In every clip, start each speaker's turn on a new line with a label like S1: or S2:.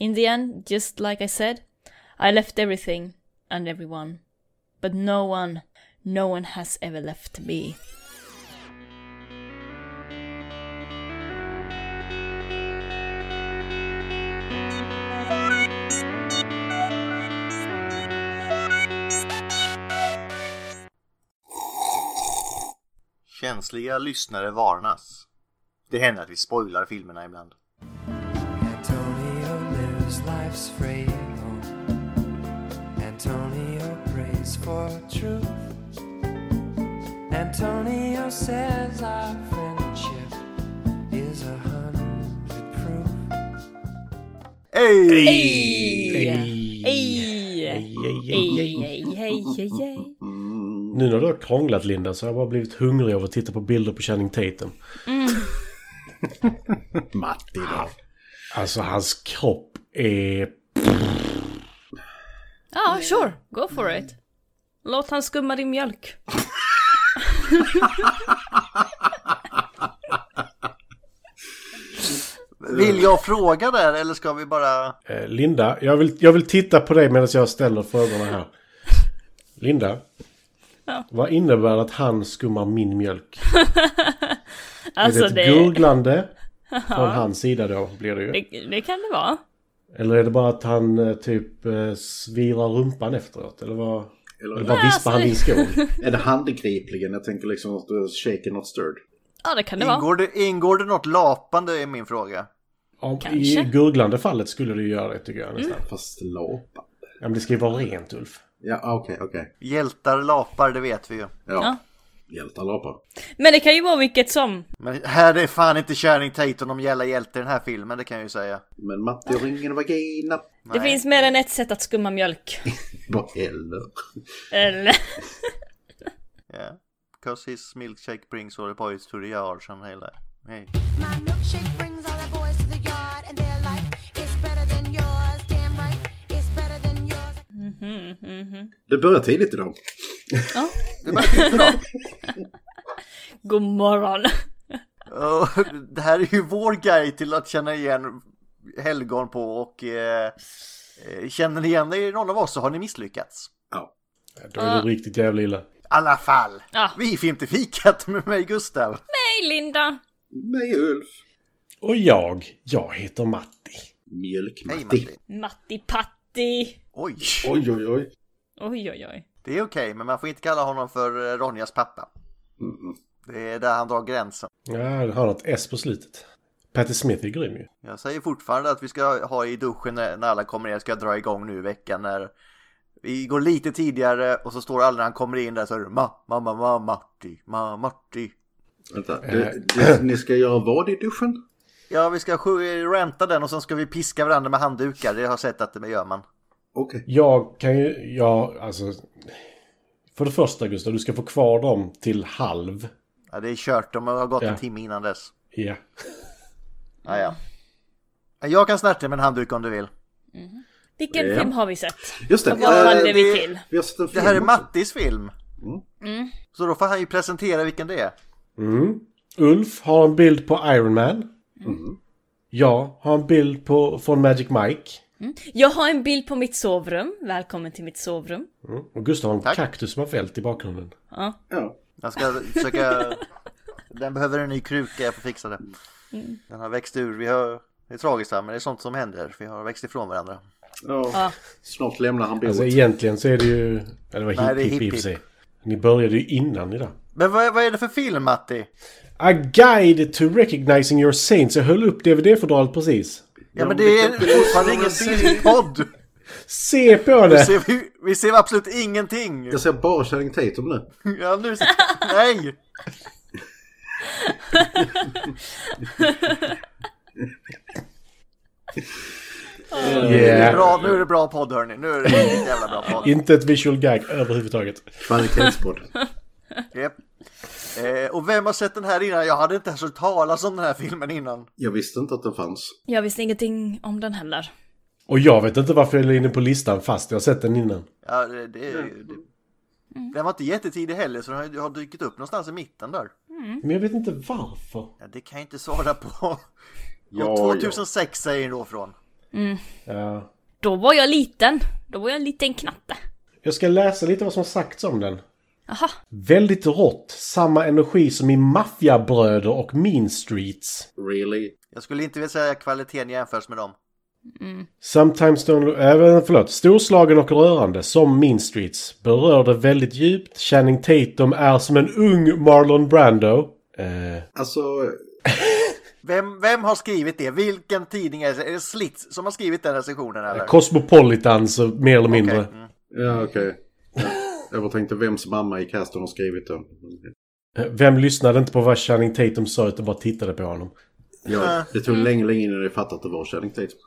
S1: In the end, just like I said, I left everything and everyone. But no one, no one has ever left me.
S2: Känsliga lyssnare varnas. Det händer att vi spoilar filmerna ibland.
S3: Antonio lives life's free home. Antonio prays for truth. Antonio says our friendship is a hundred proof.
S2: Hej!
S1: Hej! Hej! Hej, hej, hej, hej.
S4: Nu när du har krånglat Linda så har jag bara blivit hungrig av att titta på bilder på Channing Tatum.
S5: Matti då.
S4: Alltså hans kropp är...
S1: Ja, Ah, sure. Go for it. Låt han skumma din mjölk.
S2: Vill jag fråga där eller ska vi bara...
S4: Eh, Linda, jag vill, jag vill titta på dig medan jag ställer frågorna här. Linda,
S1: Ja.
S4: vad innebär att han skummar min mjölk?
S1: Alltså
S4: är det ett
S1: det,
S4: gurglande från hans sida då blir det ju?
S1: det, det kan det vara.
S4: Eller är det bara att han eh, typ eh, svirar rumpan efteråt? Eller vad?
S5: Eller-
S4: Eller bara vispar han din skål?
S5: Är det handgripligen? Jag tänker liksom att du shaken not stirred.
S1: Ja, det kan det vara.
S2: Ingår det, ingår det något lapande är min fråga.
S4: Om, I
S1: Kanske.
S4: gurglande fallet skulle du göra det tycker jag nästan.
S5: Fast lapa.
S4: Ja, men det ska ju vara rent Ulf.
S5: Ja, ah, okej, okej.
S2: Hjältar lapar, det vet vi ju.
S5: Ja.
S1: Ja.
S5: Hjältar lapar.
S1: Men det kan ju vara vilket som.
S2: Men här är fan inte Channing Tatum om gälla hjälte i den här filmen, det kan jag ju säga.
S5: Men Matti har ingen vagina.
S1: Det finns mer än ett sätt att skumma mjölk.
S5: Vad heller.
S1: Eller?
S2: Yeah. Cause his milkshake brings all the boys to the yard som hela... Hey.
S6: My milkshake brings all the boys to the yard, and their life is better than yours. Damn right, it's better than yours.
S5: Det börjar tidigt idag.
S1: Ja. God morgon.
S2: Och det här är ju vår guide till att känna igen helgon på och eh, eh, känner ni igen er i någon av oss så har ni misslyckats.
S5: Ja.
S4: Då är det riktigt jävla illa.
S2: I alla fall,
S1: Ja.
S2: vi är inte fikat med mig Gustav.
S1: Hej Linda.
S5: Nej, Ulf.
S4: Och jag, jag heter Matti.
S2: Hej
S5: Mjölk-Matti.
S2: Matti.
S1: Matti Patti.
S2: Oj,
S5: Oj, oj, oj.
S1: Oj, oj, oj.
S2: det är okej men man får inte kalla honom för eh, Ronjas pappa. Det är där han drar gränsen.
S4: Ja, det har något S på slutet. Patti Smith är grym ju.
S2: Jag säger fortfarande att vi ska ha i duschen när när alla kommer in, ska jag dra igång nu i veckan när vi går lite tidigare och så står alla när han kommer in där så är det ma, ma, ma, ma, Matti, ma, Matti.
S5: Vänta. Du, du, ni ska göra vad i duschen?
S2: Ja, vi ska sju- ranta den och sen ska vi piska varandra med handdukar. Det har jag sett att det gör man.
S5: Okej.
S4: Jag kan ju, jag, alltså... För det första Gustav, du ska få kvar dem till halv.
S2: Ja, det är kört. De har gått
S4: Ja.
S2: en timme innan dess.
S4: Ja.
S2: Ja, ja. Jag kan snärta dig med en handduk om du vill.
S1: Vilken
S5: Ja.
S1: film har vi sett?
S5: Just det.
S1: Och vad
S5: Eh,
S1: hade vi
S2: det-
S1: till?
S5: Vi har sett en film
S2: Det här är
S5: också.
S2: Mattis film. Så då får han ju presentera vilken det är.
S4: Mm. Ulf har en bild på Iron Man. Mm. Jag har en bild på, från Magic Mike.
S1: Jag har en bild på mitt sovrum. Välkommen till mitt sovrum.
S4: Mm. Och Gustav har en
S2: Tack.
S4: kaktus som har fällt i bakgrunden.
S5: Ja.
S2: Jag ska försöka... Den behöver en ny kruka, jag får fixa det. Den har växt ur. Vi har... Det är tragiskt här, men det är sånt som händer. Vi har växt ifrån varandra.
S5: ja.
S1: Ja.
S5: Snart lämnar han bordet.
S4: Alltså egentligen så är det ju... Eller det var
S2: Nej,
S4: hipp
S2: det är
S4: hipp i och
S2: hipp,
S4: för
S2: hipp.
S4: sig. Ni började ju innan idag.
S2: Men vad, vad är det för film, Matti?
S4: A guide to recognizing your saints. Jag höll upp DVD-fodralet precis.
S2: Ja, men det är fortfarande ingen filmpodd!
S4: Se på
S2: Vi
S4: det!
S2: ser, vi, vi ser absolut ingenting!
S5: Jag ser bara Channing Tatum nu.
S2: Ja, nu... Nej!
S4: Yeah.
S2: Bra, nu är det bra podd hörni. Nu är det riktigt jävla bra podd.
S4: Inte ett visual gag överhuvudtaget.
S5: Kvalitetspodd.
S2: Japp. Eh, och vem har sett den här innan? Jag hade inte ens hört talas om den här filmen innan.
S5: Jag visste inte att den fanns.
S1: Jag visste ingenting om den heller.
S4: Och jag vet inte varför jag la in den på listan fast jag har sett den innan.
S2: Ja, det, det, det, den var inte jättetidig heller så den har, har dykt upp någonstans i mitten där.
S4: Men jag vet inte varför.
S2: Ja, det kan jag inte svara på.
S5: Ja,
S2: Och 2006 säger den då från.
S4: Ja.
S1: Då var jag liten. Då var jag en liten knatte.
S4: Jag ska läsa lite vad som sagts om den.
S1: Aha.
S4: Väldigt rått, samma energi som i Maffiabröder och Mean Streets.
S5: Really?
S2: Jag skulle inte vilja säga att kvaliteten jämförs med dem.
S4: Sometimes don't... äh, Även, förlåt. Storslagen och rörande, som Mean Streets. Berörde väldigt djupt. Channing Tatum är som en ung Marlon Brando. Eh,
S5: Alltså,
S2: Vem, vem har skrivit det? Vilken tidning är det? Är det Slits som har skrivit den recensionen eller?
S4: Cosmopolitan, så mer eller mindre.
S2: Okej, mm.
S5: ja okej. Ja. Jag bara tänkte vems mamma i casten har skrivit den.
S4: Eh, Vem lyssnade inte på vad Channing Tatum sa utan bara tittade på honom?
S5: Ja, det tog länge, länge innan jag fattade att det var Channing Tatum.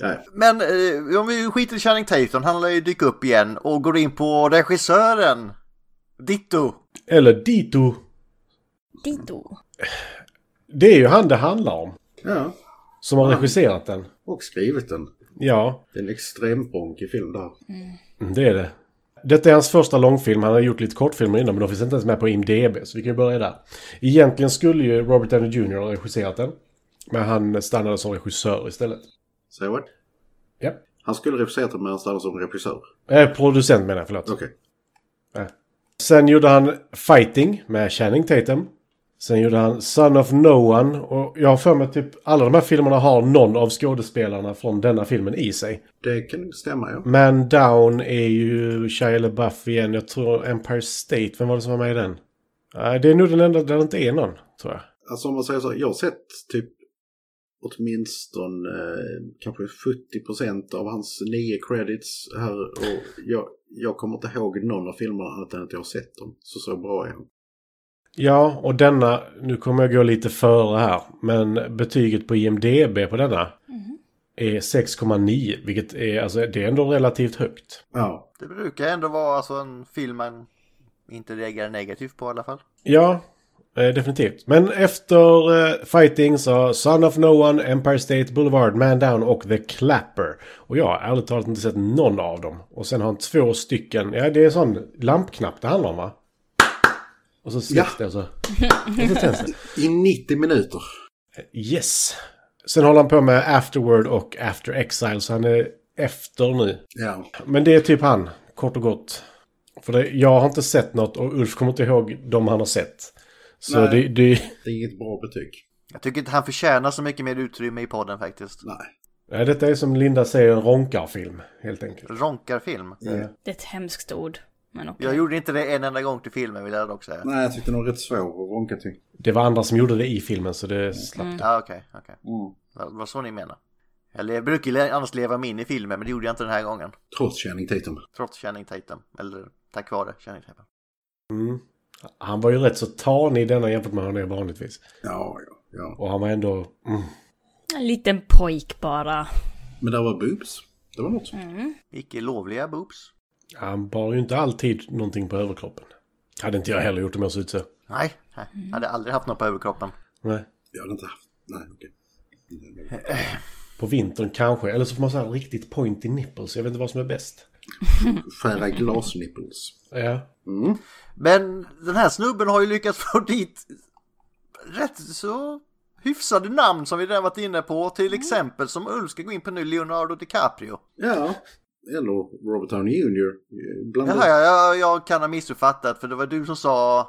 S5: Nej,
S2: Men eh, om vi skiter i Channing Tatum, han lär ju dyka upp igen och går in på regissören. Ditto.
S4: Eller Dito.
S1: Dito.
S4: Det är ju han det handlar om.
S5: ja.
S4: Som
S2: Ah.
S4: har regisserat den.
S5: Och skrivit den.
S4: Ja,
S5: Det är en extremt bronkig film där.
S4: det är det. Detta är hans första långfilm. Han har gjort lite kortfilmer innan, men de finns inte ens med på IMDB. Så vi kan ju börja där. Egentligen skulle ju Robert Downey Jr. ha regisserat den. Men han stannade som regissör istället.
S5: Säg vad?
S4: Ja.
S5: Han skulle regissera den men han stannade som regissör.
S4: Eh, producent menar jag, förlåt.
S5: Okej.
S4: Sen gjorde han Fighting med Channing Tatum. Sen gjorde han Son of No One. Och jag har för mig typ alla de här filmerna har någon av skådespelarna från denna filmen i sig.
S5: Det kan nog stämma ja.
S4: Man Down är ju Shia LaBeouf igen. Jag tror Empire State. Vem var det som var med i den? Nej, Det är nog den enda där det inte är någon, tror jag.
S5: Alltså om man säger så, jag har sett typ åtminstone eh, kanske 70% av hans nio credits här och jag, jag kommer inte ihåg någon av filmerna annat än att jag har sett dem. Så så bra är han.
S4: Ja, och denna, nu kommer jag gå lite före här, men betyget på IMDB på denna är 6,9, vilket är, alltså, det är ändå relativt högt.
S5: Ja,
S2: Det brukar ändå vara alltså en film man inte reagerar negativt på i alla fall.
S4: Ja, eh, definitivt. Men efter eh, Fighting så Son of No One, Empire State Boulevard, Man Down och The Clapper. Och jag har ärligt talat inte sett någon av dem. Och sen har han två stycken, ja det är en sån lampknapp det handlar om va? Och så släcks
S5: Ja.
S4: det och så... Och så tänds det.
S5: i 90 minuter.
S4: Yes. Sen håller han på med Afterword och After Exile, så han är efter nu.
S5: Ja,
S4: Men det är typ han, kort och gott. För det, jag har inte sett något och Ulf kommer inte ihåg de han har sett. Så
S5: Nej.
S4: det, det,
S5: det är inget bra betyg.
S2: Jag tycker inte han förtjänar så mycket mer utrymme i podden faktiskt.
S5: Nej.
S4: Nej, detta är som Linda säger en ronkarfilm, helt enkelt.
S2: Ronkarfilm.
S5: Mm. Eh,
S1: Det är ett hemskt ord. Men okej.
S2: Jag gjorde inte det en enda gång till filmen vill jag dock säga.
S5: Nej, jag tyckte den var rätt svår att ronka till.
S4: Det var andra som gjorde det i filmen, så det slapp
S2: Ja ah, okej, okej.
S5: Mm.
S2: Vad var så ni menar. Jag le- brukar le- annars leva mig in i filmen men det gjorde jag inte den här gången.
S5: Trots Channing Tatum.
S2: Trots Channing Tatum. Eller tack vare Channing Tatum.
S4: Han var ju rätt så tanig i denna jämfört med hur han är vanligtvis.
S5: Ja, ja, ja.
S4: Och han var ändå... Mm.
S1: En liten pojk bara.
S5: Men där var boobs. Det var något.
S2: Icke lovliga boobs.
S4: Han bar ju inte alltid någonting på överkroppen. Hade inte jag heller gjort om jag såg ut så.
S2: Nej, nej. Jag hade aldrig haft något på överkroppen.
S4: Nej.
S5: Jag hade inte haft. Nej, okej.
S4: På vintern kanske, eller så får man så här riktigt pointy nipples. Jag vet inte vad som är bäst.
S5: Skära glasnipples.
S4: Ja.
S2: Men den här snubben har ju lyckats få dit rätt så hyfsade namn som vi redan varit inne på. Till exempel som Ulf ska gå in på nu, Leonardo DiCaprio.
S5: Ja, eller Robert Downey Jr. Bland
S2: Jaha, ja, jag, jag kan ha missuppfattat för det var du som sa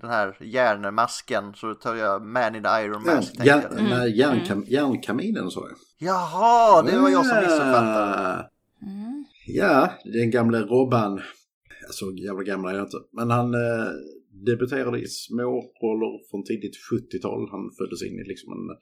S2: den här järnmasken så då tar jag Man in the Iron
S5: Ja,
S2: Mask.
S5: Mm. ja,
S2: Ja.
S5: nej, järnkam, järnkaminen sa jag.
S2: Jaha, det var jag som
S5: Mm.
S2: missuppfattade.
S5: Ja, den gamle Robban. Alltså jävla gammal är jag inte. Men han eh, debuterade i småroller från tidigt 70-tal. Han föddes in i liksom en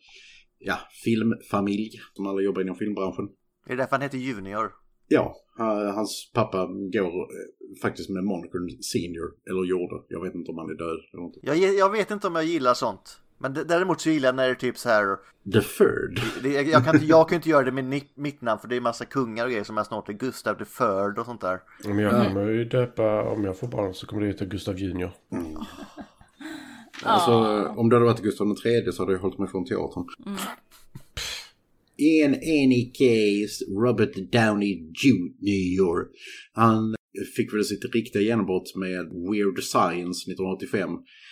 S5: ja, filmfamilj som alla jobbar inom filmbranschen.
S2: Det är därför han heter Junior.
S5: Ja, eh, hans pappa går eh, faktiskt med monikern Senior, eller gjorde. Jag vet inte om han är död eller inte.
S2: Jag, ge- jag vet inte om jag gillar sånt. Men d- däremot så gillar jag när det är typ så här.
S5: The Third.
S2: Det, jag, jag, kan inte, jag kan inte göra det med ni- mitt namn för det är massa kungar och grejer som jag snart är Gustav the Third och sånt där.
S4: Men jag kommer ju döpa, om jag får barn så kommer det ju heta Gustav Junior.
S5: Alltså, om det hade varit Gustav III så hade jag hållit mig från teatern. In any case, Robert Downey Jr. Han fick väl sitt riktiga genombrott med Weird Science 1985.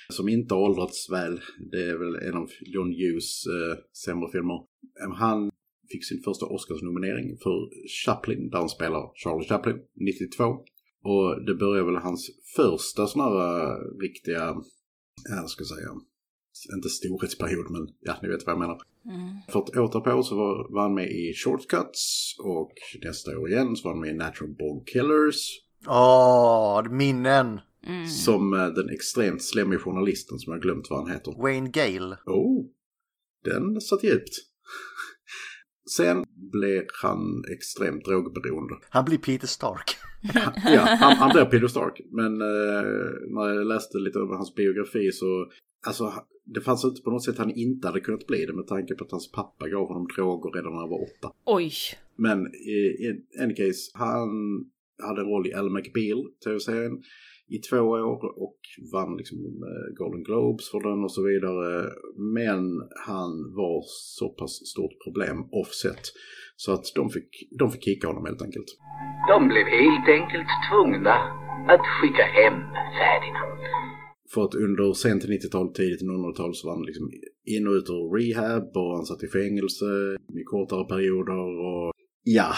S5: Som inte har åldrats väl. Det är väl en av John Hughes eh, sämre filmer. Han fick sin första Oscarsnominering för Chaplin, där han spelar Charlie Chaplin, 92. Och det börjar väl hans första sån här eh, riktiga, ja, vad ska jag säga, inte storhetsperiod, men ja, ni vet vad jag menar. För ett år därpå så var, var han med i Shortcuts och nästa år igen så var han med i Natural Born Killers.
S2: Åh, minnen!
S1: Mm.
S5: Som eh, den extremt slemme journalisten som jag har glömt vad han heter.
S2: Wayne Gale.
S5: Oh, den satt djupt. Sen blev han extremt drogberoende.
S2: Han blir Peter Stark.
S5: Ja, han, han blev Peter Stark. Men eh, när jag läste lite över hans biografi så... Alltså, det fanns inte på något sätt han inte hade kunnat bli det med tanke på att hans pappa gav honom droger redan när han var åtta.
S1: Oj.
S5: Men i, i any case, han hade en roll i Al McBeal, tv-serien, i två år och vann liksom eh, Golden Globes för den och så vidare. Men han var så pass stort problem offset så att de fick, de fick kicka honom helt enkelt.
S7: De blev helt enkelt tvungna att skicka hem Ferdinand.
S5: För att under sent 90-tal, tidigt 00-tal så var han liksom in och ut ur rehab och han satt i fängelse i kortare perioder och ja,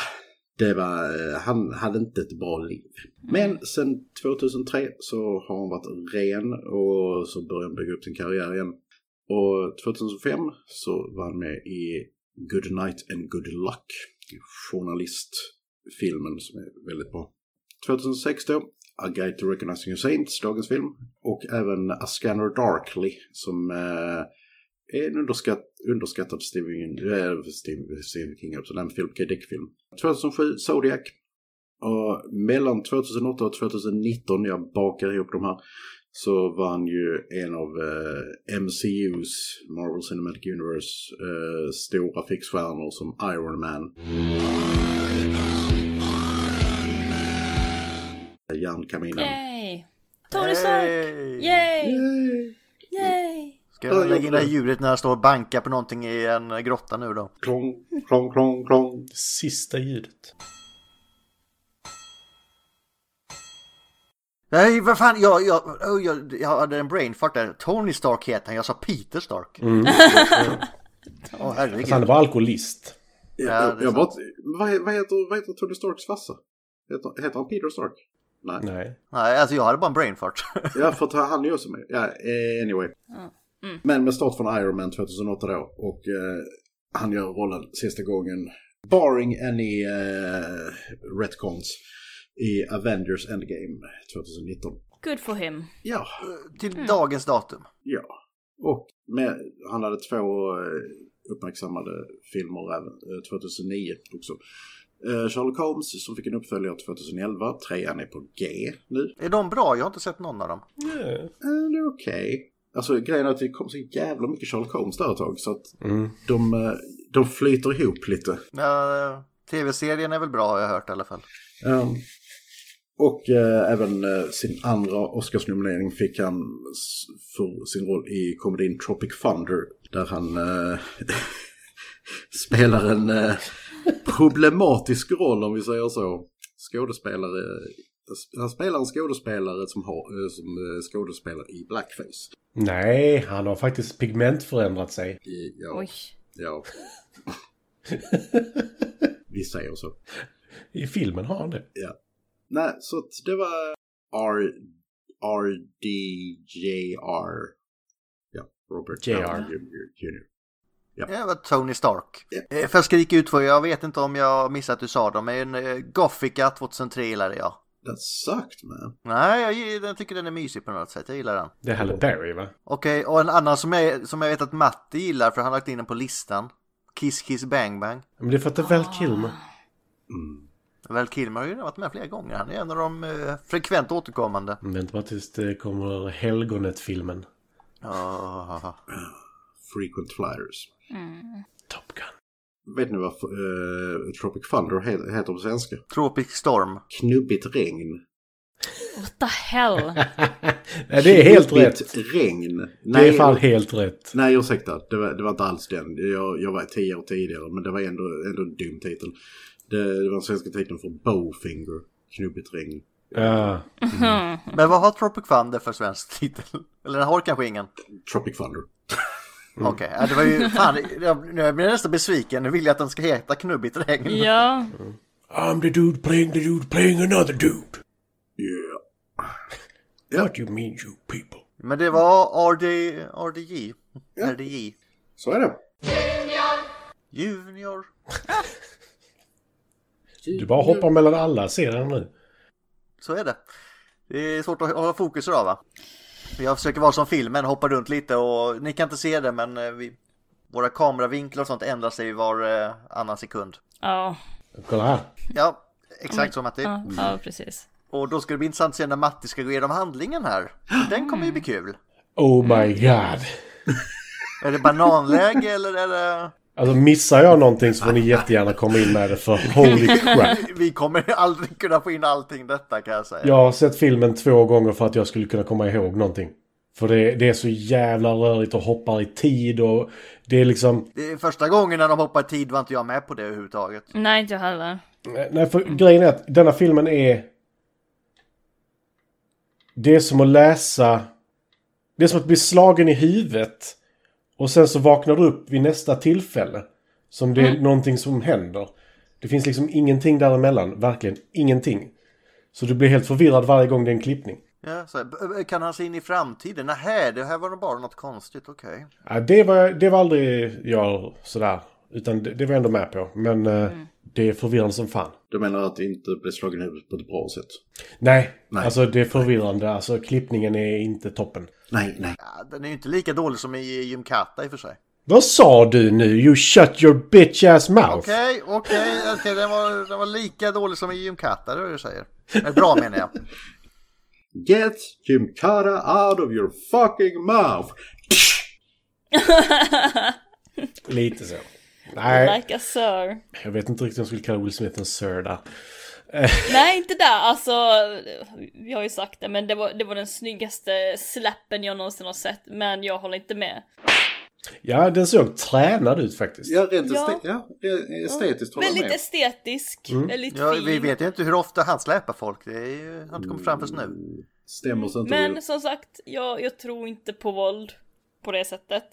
S5: det var, eh, han hade inte ett bra liv. Men sen 2003 så har han varit ren och så började han bygga upp sin karriär igen. Och 2005 så var han med i Good Night and Good Luck, journalistfilmen som är väldigt bra. 2006 då, A Guide to Recognizing Your Saints, dagens film. Och även A Scanner Darkly som eh, är en underskatt, underskattad Stephen, äh, Stephen, Stephen King, alltså den film, Dick-film. 2007, Zodiac. Och mellan 2008 och 2019, jag bakar ihop de här, så vann ju en av eh, MCUs, Marvel Cinematic Universe, eh, stora fixstjärnor som Iron Man. Järnkaminen.
S1: Yay. Tony Stark!
S2: Yay!
S1: Yay!
S5: Yay!
S1: Yay!
S2: Ska jag lägga in det här ljudet när han står och bankar på någonting i en grotta nu då?
S5: Klong, klong, klong, klong.
S4: Det sista ljudet.
S2: Nej, vad fan, jag, jag, oh, jag, jag hade en brainfart där. Tony Stark heter han, jag sa Peter Stark. Åh herregud.
S4: Att han var alkoholist.
S2: Ja, det
S5: Jag,
S2: är sant.
S5: jag bara, vad, vad, heter, vad heter Tony Starks farsa? Heter, heter han Peter Stark? Nej.
S4: Nej.
S2: Nej, alltså jag hade bara en brainfart.
S5: Ja, för att han är ju också med. Ja, eh, anyway.
S2: mm.
S5: Men med start från Iron Man 2008 då. Och eh, han gör rollen sista gången. Barring any eh, retcons i Avengers Endgame 2019.
S1: Good for him.
S5: Ja,
S2: Till
S1: Mm.
S2: dagens datum.
S5: ja. Och med, han hade två eh, uppmärksammade filmer även eh, 2009 också. Eh, Sherlock Holmes som fick en uppföljare 2011. Trean är på G nu.
S2: Är de bra? Jag har inte sett någon av dem.
S5: Eh, det är okej. Alltså grejen är att det kom så jävla mycket Sherlock Holmes där ett tag så att
S4: Mm.
S5: de, eh, de flyter ihop lite.
S2: Eh, Tv-serien är väl bra har jag hört i alla fall.
S5: Ehm, och eh, även eh, sin andra Oscarsnominering fick han s- för sin roll i komedin Tropic Thunder där han eh, spelar en eh, problematisk roll om vi säger så. Skådespelare, eh, han spelar en skådespelare som, har, eh, som eh, skådespelar i blackface.
S4: Nej, han har faktiskt pigmentförändrat sig.
S5: I, ja,
S1: Oj.
S5: Ja. Vi säger så.
S4: I filmen har han det.
S5: Nej, så att det var R... RDJR. Ja, Robert
S4: JR.
S5: Downey Jr.
S2: Det var Tony Stark. Eh, För jag skrika ut för jag vet inte om jag missat att du sa dem, men eh, Gothica 2003 gillade jag.
S5: That sucked man.
S2: Nej, jag, gi- jag tycker den är mysig på något sätt. Jag gillar den.
S4: Det är Halle Berry, va?
S2: Okej, och en annan som jag, som jag vet att Matti gillar för han har lagt in den på listan. Kiss Kiss Bang Bang.
S4: Men det är för att det är Val Kilmer.
S5: Mm,
S2: Väl Kilmer har ju varit med flera gånger. Han är en av de eh, frekvent återkommande.
S4: Vänta bara tills det kommer Helgonet-filmen.
S2: Ja.
S5: Frequent flyers.
S4: Top Gun.
S5: Vet ni vad eh, Tropic Thunder he- heter på svenska?
S2: Tropic Storm.
S5: Knubbigt regn.
S1: What the hell?
S4: Nej, det är helt
S5: Knubbigt
S4: rätt.
S5: regn.
S4: Det är fan helt rätt.
S5: Nej, ursäkta. Det var, det var inte alls den. Jag, jag var tio år tidigare, men det var ändå, ändå en dum titel. Det, det var den svenska titeln för Bowfinger, knubbigt regn.
S4: Ja.
S2: Men vad har Tropic Thunder för svensk titel? Eller den har kanske ingen.
S5: Tropic Thunder.
S2: Okej, ja, det var ju fan, jag, nu blir jag nästan besviken. Nu vill jag att den ska heta Knubbigt regn.
S1: Ja,
S4: I'm the dude playing the dude playing another dude.
S5: Yeah.
S4: What you mean you people?
S2: Men det var RD, RDJ. RDJ.
S5: Så är det.
S2: Junior.
S4: Du bara hoppar mellan alla serier nu.
S2: Så är det. Det är svårt att hålla fokus idag va? Jag försöker vara som filmen, hoppa runt lite och ni kan inte se det men eh, vi, våra kameravinklar och sånt ändrar sig var eh, annan sekund.
S1: ja,
S4: Kolla här.
S2: Ja, exakt som att det
S1: ja, ja precis.
S2: Och då ska det bli intressant att se när Matti ska gå igenom handlingen här. Den kommer ju bli kul.
S4: Oh my god.
S2: Är det bananläge eller är det...
S4: Alltså missar jag någonting så får ni jättegärna komma in med det för holy crap.
S2: Vi kommer aldrig kunna få in allting detta kan jag säga.
S4: Jag har sett filmen två gånger för att jag skulle kunna komma ihåg någonting. För det, det är så jävla rörigt och hoppar i tid och det är liksom...
S2: Det är första gången när de hoppar i tid var inte jag med på det överhuvudtaget.
S1: Nej, inte jag heller.
S4: eh, Nej, för grejen är att denna filmen är... Det är som att läsa... Det är som att bli slagen i huvudet. Och sen så vaknar du upp vid nästa tillfälle. Som det är någonting som händer. Det finns liksom ingenting däremellan. Verkligen ingenting. Så du blir helt förvirrad varje gång det är en klippning.
S2: Ja, så här, b- b- kan han se in i framtiden? Nähä, det här var nog bara något konstigt, okej.
S4: Ja, det, var, det var aldrig jag sådär. Utan det, det var jag ändå med på. Men eh,
S1: Mm.
S4: det är förvirrande som fan.
S5: Du menar att det inte blir slagen i huvudet på ett bra sätt?
S4: Nej,
S5: Nej.
S4: alltså det är förvirrande. Alltså klippningen är inte toppen.
S5: Nej, nej.
S2: Ja, den är ju inte lika dålig som i Gymkata i och för sig.
S4: Vad sa du nu? You shut your bitch ass mouth.
S2: Okej, okej, okej, den var, den var lika dålig som i Gymkata, det är vad du säger. Eller bra menar jag.
S5: Get Jim Cara out of your fucking mouth!
S4: Lite så. Nej,
S1: Like a sir.
S4: jag vet inte riktigt om jag skulle kalla Will Smith en sir där.
S1: Nej, inte där. Alltså, vi har ju sagt det, men det var, det var den snyggaste slappen jag någonsin har sett. Men jag håller inte med.
S4: Ja, den såg tränad ut faktiskt.
S5: Ja, rent
S1: Ja.
S5: Este- ja. re- estetiskt håller jag
S1: Väldigt
S5: med.
S1: estetisk, väldigt
S2: Ja,
S1: fin.
S2: vi vet ju inte hur ofta han släpar folk, det är ju, har inte kommit fram först nu.
S5: Stämmer så inte
S1: Men
S5: det.
S1: som sagt, jag, jag tror inte på våld på det sättet.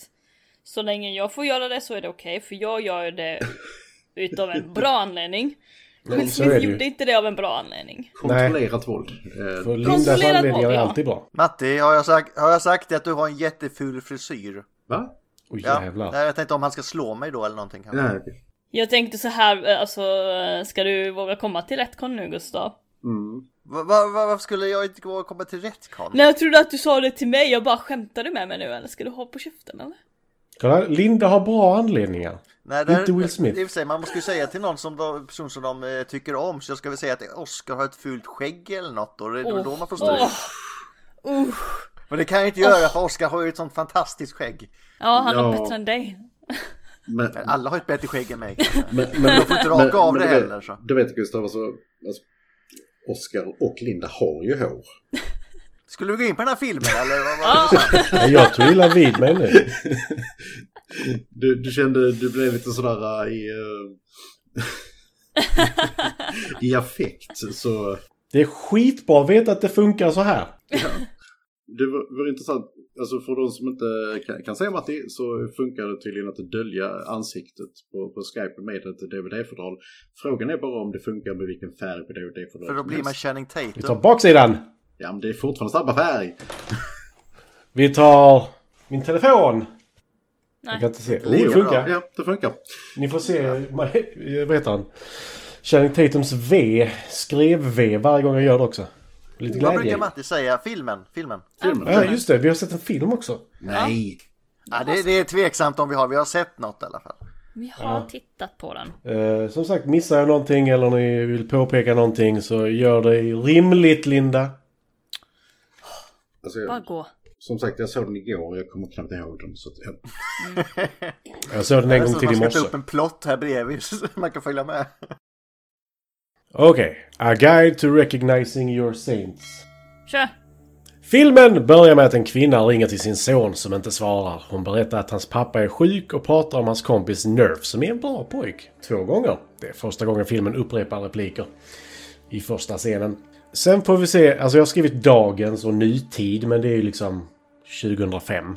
S1: Så länge jag får göra det så är det okej, för jag gör det utav en bra anledning. Will
S4: så är det
S1: Smith
S4: ju.
S1: gjorde inte det av en bra anledning.
S5: Kontrollerat våld. Eh,
S4: För Lindas
S1: Kontrollerat
S4: anledningar
S1: våld,
S4: är
S1: ja.
S4: alltid bra.
S2: Matti, har jag sagt, har jag sagt att du har en jätteful frisyr?
S5: Va?
S4: Oj
S2: Ja,
S4: jävlar.
S2: Nej, jag tänkte om han ska slå mig då eller någonting. kanske.
S5: Ja, okej.
S1: Jag tänkte så här, eh, alltså eh, ska du våga komma till retcon nu Gustav?
S5: Mm.
S2: Va, va, va, varför skulle jag inte gå och komma till rätt kon?
S1: Nej jag trodde att du sa det till mig, jag bara skämtade med mig nu eller ska du ha på käften eller?
S4: Kolla, Linda har bra anledningar.
S2: Nej,
S4: Inte Will Smith.
S2: i och för sig, man måste ju säga till någon som de, person som de eh, tycker om, så jag ska väl säga att Oscar har ett fult skägg eller något och det är väl då man får stryk.
S1: Åh. Uh.
S2: Men det kan jag inte göra för Oscar har ju ett sånt fantastiskt skägg.
S1: Ja han är
S5: Ja.
S1: bättre än dig.
S5: Men,
S2: Men alla har ett bättre skägg än mig. kanske.
S5: men, men
S2: Jag får inte raka av det
S5: du vet-
S2: heller, så.
S5: Du vet Gustav, alltså, alltså, Oscar och Linda har ju hår.
S2: Skulle vi gå in på den här filmen eller? Vad, vad?
S4: Nej, Jag tog illa vid mig nu.
S5: Du, du kände, du blev lite sådär äh, i... eh, I affekt, så...
S4: Det är skitbra att veta att det funkar så här.
S5: Det var, var intressant, alltså för de som inte kan, kan se Matti så funkar det tydligen att dölja ansiktet på, på Skype med ett DVD-fodral. Frågan är bara om det funkar med vilken färg på DVD-fodralet
S2: För då
S5: som
S2: blir man
S5: helst.
S2: Channing
S4: Vi tar
S2: Tatum.
S4: baksidan.
S5: Ja men det är fortfarande samma färg!
S4: Vi tar min telefon. Jag kan
S1: Nej.
S4: inte se. Oh,
S2: Lika
S4: det funkar.
S5: Ja, det funkar.
S4: Ni får se, vad heter han? Channing Tatums V, skrev-V varje gång jag gör det också. Lite
S2: Vad brukar
S4: glädje.
S2: Matti säga? Filmen? Filmen?
S5: Filmen.
S4: Ja, just det. Vi har sett en film också.
S5: Nej!
S2: Ja, det,
S1: alltså.
S2: det är tveksamt om vi har, vi har sett något i alla fall.
S1: Vi har tittat på den.
S4: Eh, som sagt, missar jag någonting eller ni vill påpeka någonting så gör det rimligt, Linda.
S5: Alltså,
S1: Bara
S5: jag,
S1: gå.
S5: som sagt, jag såg den igår och jag kommer knappt ihåg den. Så att, ja.
S4: Jag såg den
S2: Det
S4: en
S2: är
S4: gång
S2: som
S4: till i
S2: att man ska
S4: morse.
S2: ta upp en plott här bredvid så man kan följa med.
S4: Okej. A guide to recognizing your saints.
S1: Kör!
S4: Filmen börjar med att en kvinna ringer till sin son som inte svarar. Hon berättar att hans pappa är sjuk och pratar om hans kompis Nerf som är en bra pojk. Två gånger. Det är första gången filmen upprepar repliker. I första scenen. Sen får vi se, alltså jag har skrivit dagens och nytid men det är ju liksom 2005.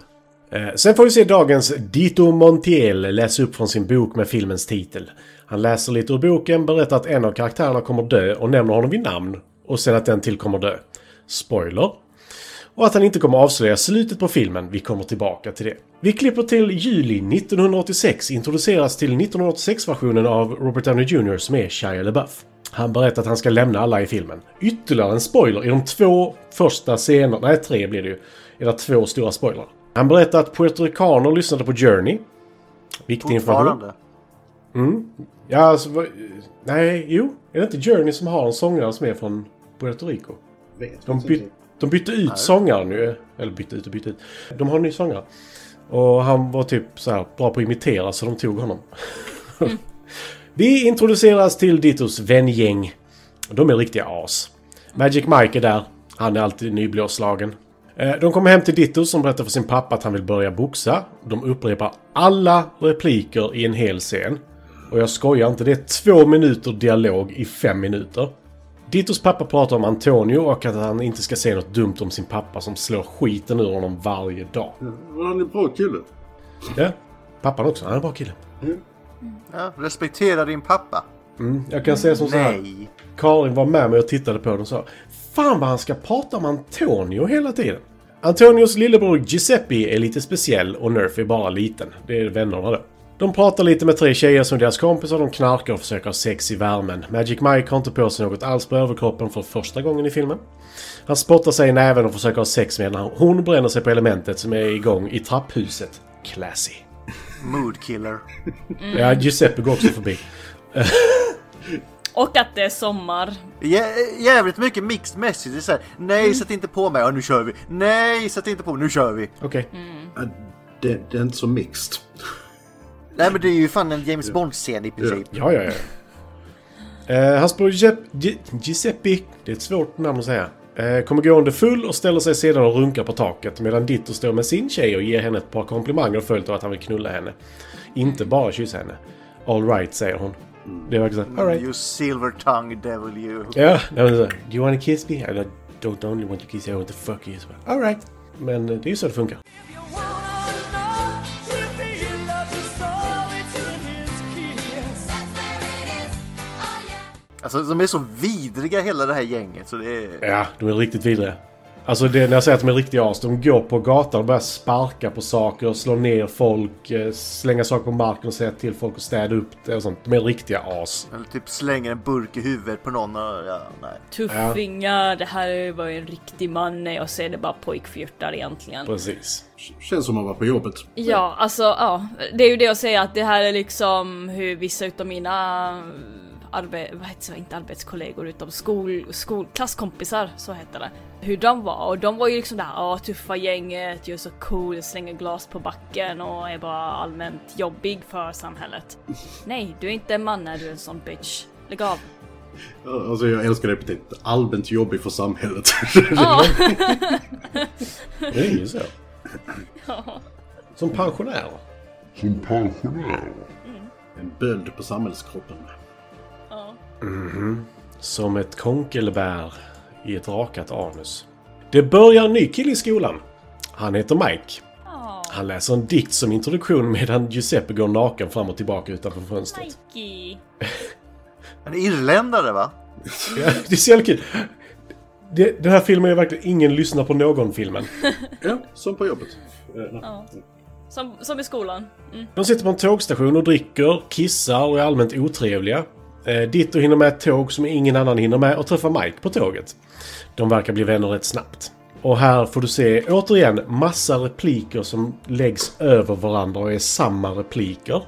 S4: Eh, Sen får vi se dagens Dito Montiel läsa upp från sin bok med filmens titel. Han läser lite ur boken, berättar att en av karaktärerna kommer dö och nämner honom vid namn. Och sen att den till kommer dö. Spoiler. Och att han inte kommer avslöja slutet på filmen. Vi kommer tillbaka till det. Vi klipper till juli 1986. Introduceras till 1986-versionen av Robert Downey Jr. som är Shia LaBeouf. Han berättar att han ska lämna alla i filmen. Ytterligare en spoiler i de två första scenerna. Nej, tre blir det ju. Är det två stora spoilrar. Han berättar att puertoricaner lyssnade på Journey. Viktig information.
S2: Fortfarande.
S4: Ja, alltså, vad- Nej, jo. Är det inte Journey som har en sångare som är från Puerto Rico?
S5: Vet
S4: De,
S5: faktiskt
S4: byt,
S5: inte.
S4: de bytte ut sångaren nu. Eller bytte ut och bytte ut. De har en ny sångare. Och han var typ så här bra på att imitera så de tog honom. Vi introduceras till Dittos vängäng. De är riktiga as. Magic Mike är där. Han är alltid nyblåslagen. Eh, De kommer hem till Ditto som berättar för sin pappa att han vill börja boxa. De upprepar alla repliker i en hel scen. Och jag skojar inte, det är två minuter dialog i fem minuter. Dittos pappa pratar om Antonio och att han inte ska säga något dumt om sin pappa som slår skiten ur honom varje dag.
S5: Men han är en bra kille.
S4: Ja, pappan också. Han är en bra kille.
S2: Ja, respektera din pappa.
S4: Mm, jag kan säga som så här.
S2: Nej.
S4: Karin var med mig och tittade på den och sa Fan vad han ska prata om Antonio hela tiden. Antonios lillebror Giuseppe är lite speciell och Nerf är bara liten. Det är vännerna då. De pratar lite med tre tjejer som är deras kompisar, de knarkar och försöker ha sex i värmen. Magic Mike har inte på sig något alls på överkroppen för första gången i filmen. Han spottar sig i näven och försöker ha sex med henne. Hon bränner sig på elementet som är igång i trapphuset. Classy.
S2: Mood killer.
S4: Ja, Giuseppe går också förbi.
S1: Och att det är sommar.
S2: Jä- jävligt mycket mixed message. Det är så här, nej,
S4: Mm.
S2: sätt inte på mig. Ja, nu kör vi. Nej, sätt inte på mig. Nu kör vi.
S4: Okej.
S5: Ja, Det, det är inte så mixed.
S2: Nej, men det är ju fan en James Bond-scen i princip.
S4: Ja, ja, ja. Eh, hans bror Giuseppe, Gi- Giuseppe, det är ett svårt namn att säga, eh, kommer gående full och ställer sig sedan och runkar på taket medan Ditto står med sin tjej och ger henne ett par komplimanger följt av att han vill knulla henne. Inte bara kyssa henne. All right, säger hon. Det verkar så här, all right.
S2: You silver tongue devil you.
S4: Ja, nej, men så, do you wanna kiss me? I don't, don't only want to kiss you, I want to fuck you as well. All right. Men eh, det är ju så det funkar.
S6: Oh,
S2: Alltså de är så vidriga hela det här gänget så det är...
S4: Ja, de är riktigt vidriga. Alltså det, när jag säger att de är riktiga as, de går på gatan och börjar sparka på saker, slå ner folk, eh, slänga saker på marken och säga till folk att städa upp det och sånt. De är riktiga as.
S2: Eller typ slänger en burk i huvudet på någon och... Ja, nej.
S1: Tuffingar, det här var ju en riktig man. Nej, jag ser det bara pojkfjörtar egentligen.
S4: Precis.
S5: Känns som att man var på jobbet.
S1: Ja, alltså ja. Det är ju det jag säger att det här är liksom hur vissa utav mina arbe- vad heter det, inte arbetskollegor utan skol, skol, klasskompisar, så hette det. Hur de var och de var ju liksom det här ja, tuffa gänget, gör så cool, slänger glas på backen och är bara allmänt jobbig för samhället. Nej, du är inte en man när du är en sån bitch. Lägg av.
S5: Alltså jag älskar det epitetet. Allmänt jobbig för samhället.
S1: Ja,
S4: Det är ju så. Som pensionärer.
S5: en böld på samhällskroppen.
S4: Som ett konkelbär i ett rakat anus. Det börjar en ny kille i skolan. Han heter Mike.
S1: Ah.
S4: Han läser en dikt som introduktion medan Giuseppe går naken fram och tillbaka utanför fönstret.
S1: Nike.
S2: En irländare va?
S4: Ja, det är så jävla kul. Det, den här filmen är verkligen ingen lyssnar på någon-filmen.
S5: Ja, som på jobbet. Eh, nej.
S1: Som, som i skolan. Mm.
S4: De sitter på en tågstation och dricker, kissar och är allmänt otrevliga. Eh, Ditto hinner med ett tåg som ingen annan hinner med och träffar Mike på tåget. De verkar bli vänner rätt snabbt. Och här får du se, återigen, massa repliker som läggs över varandra och är samma repliker.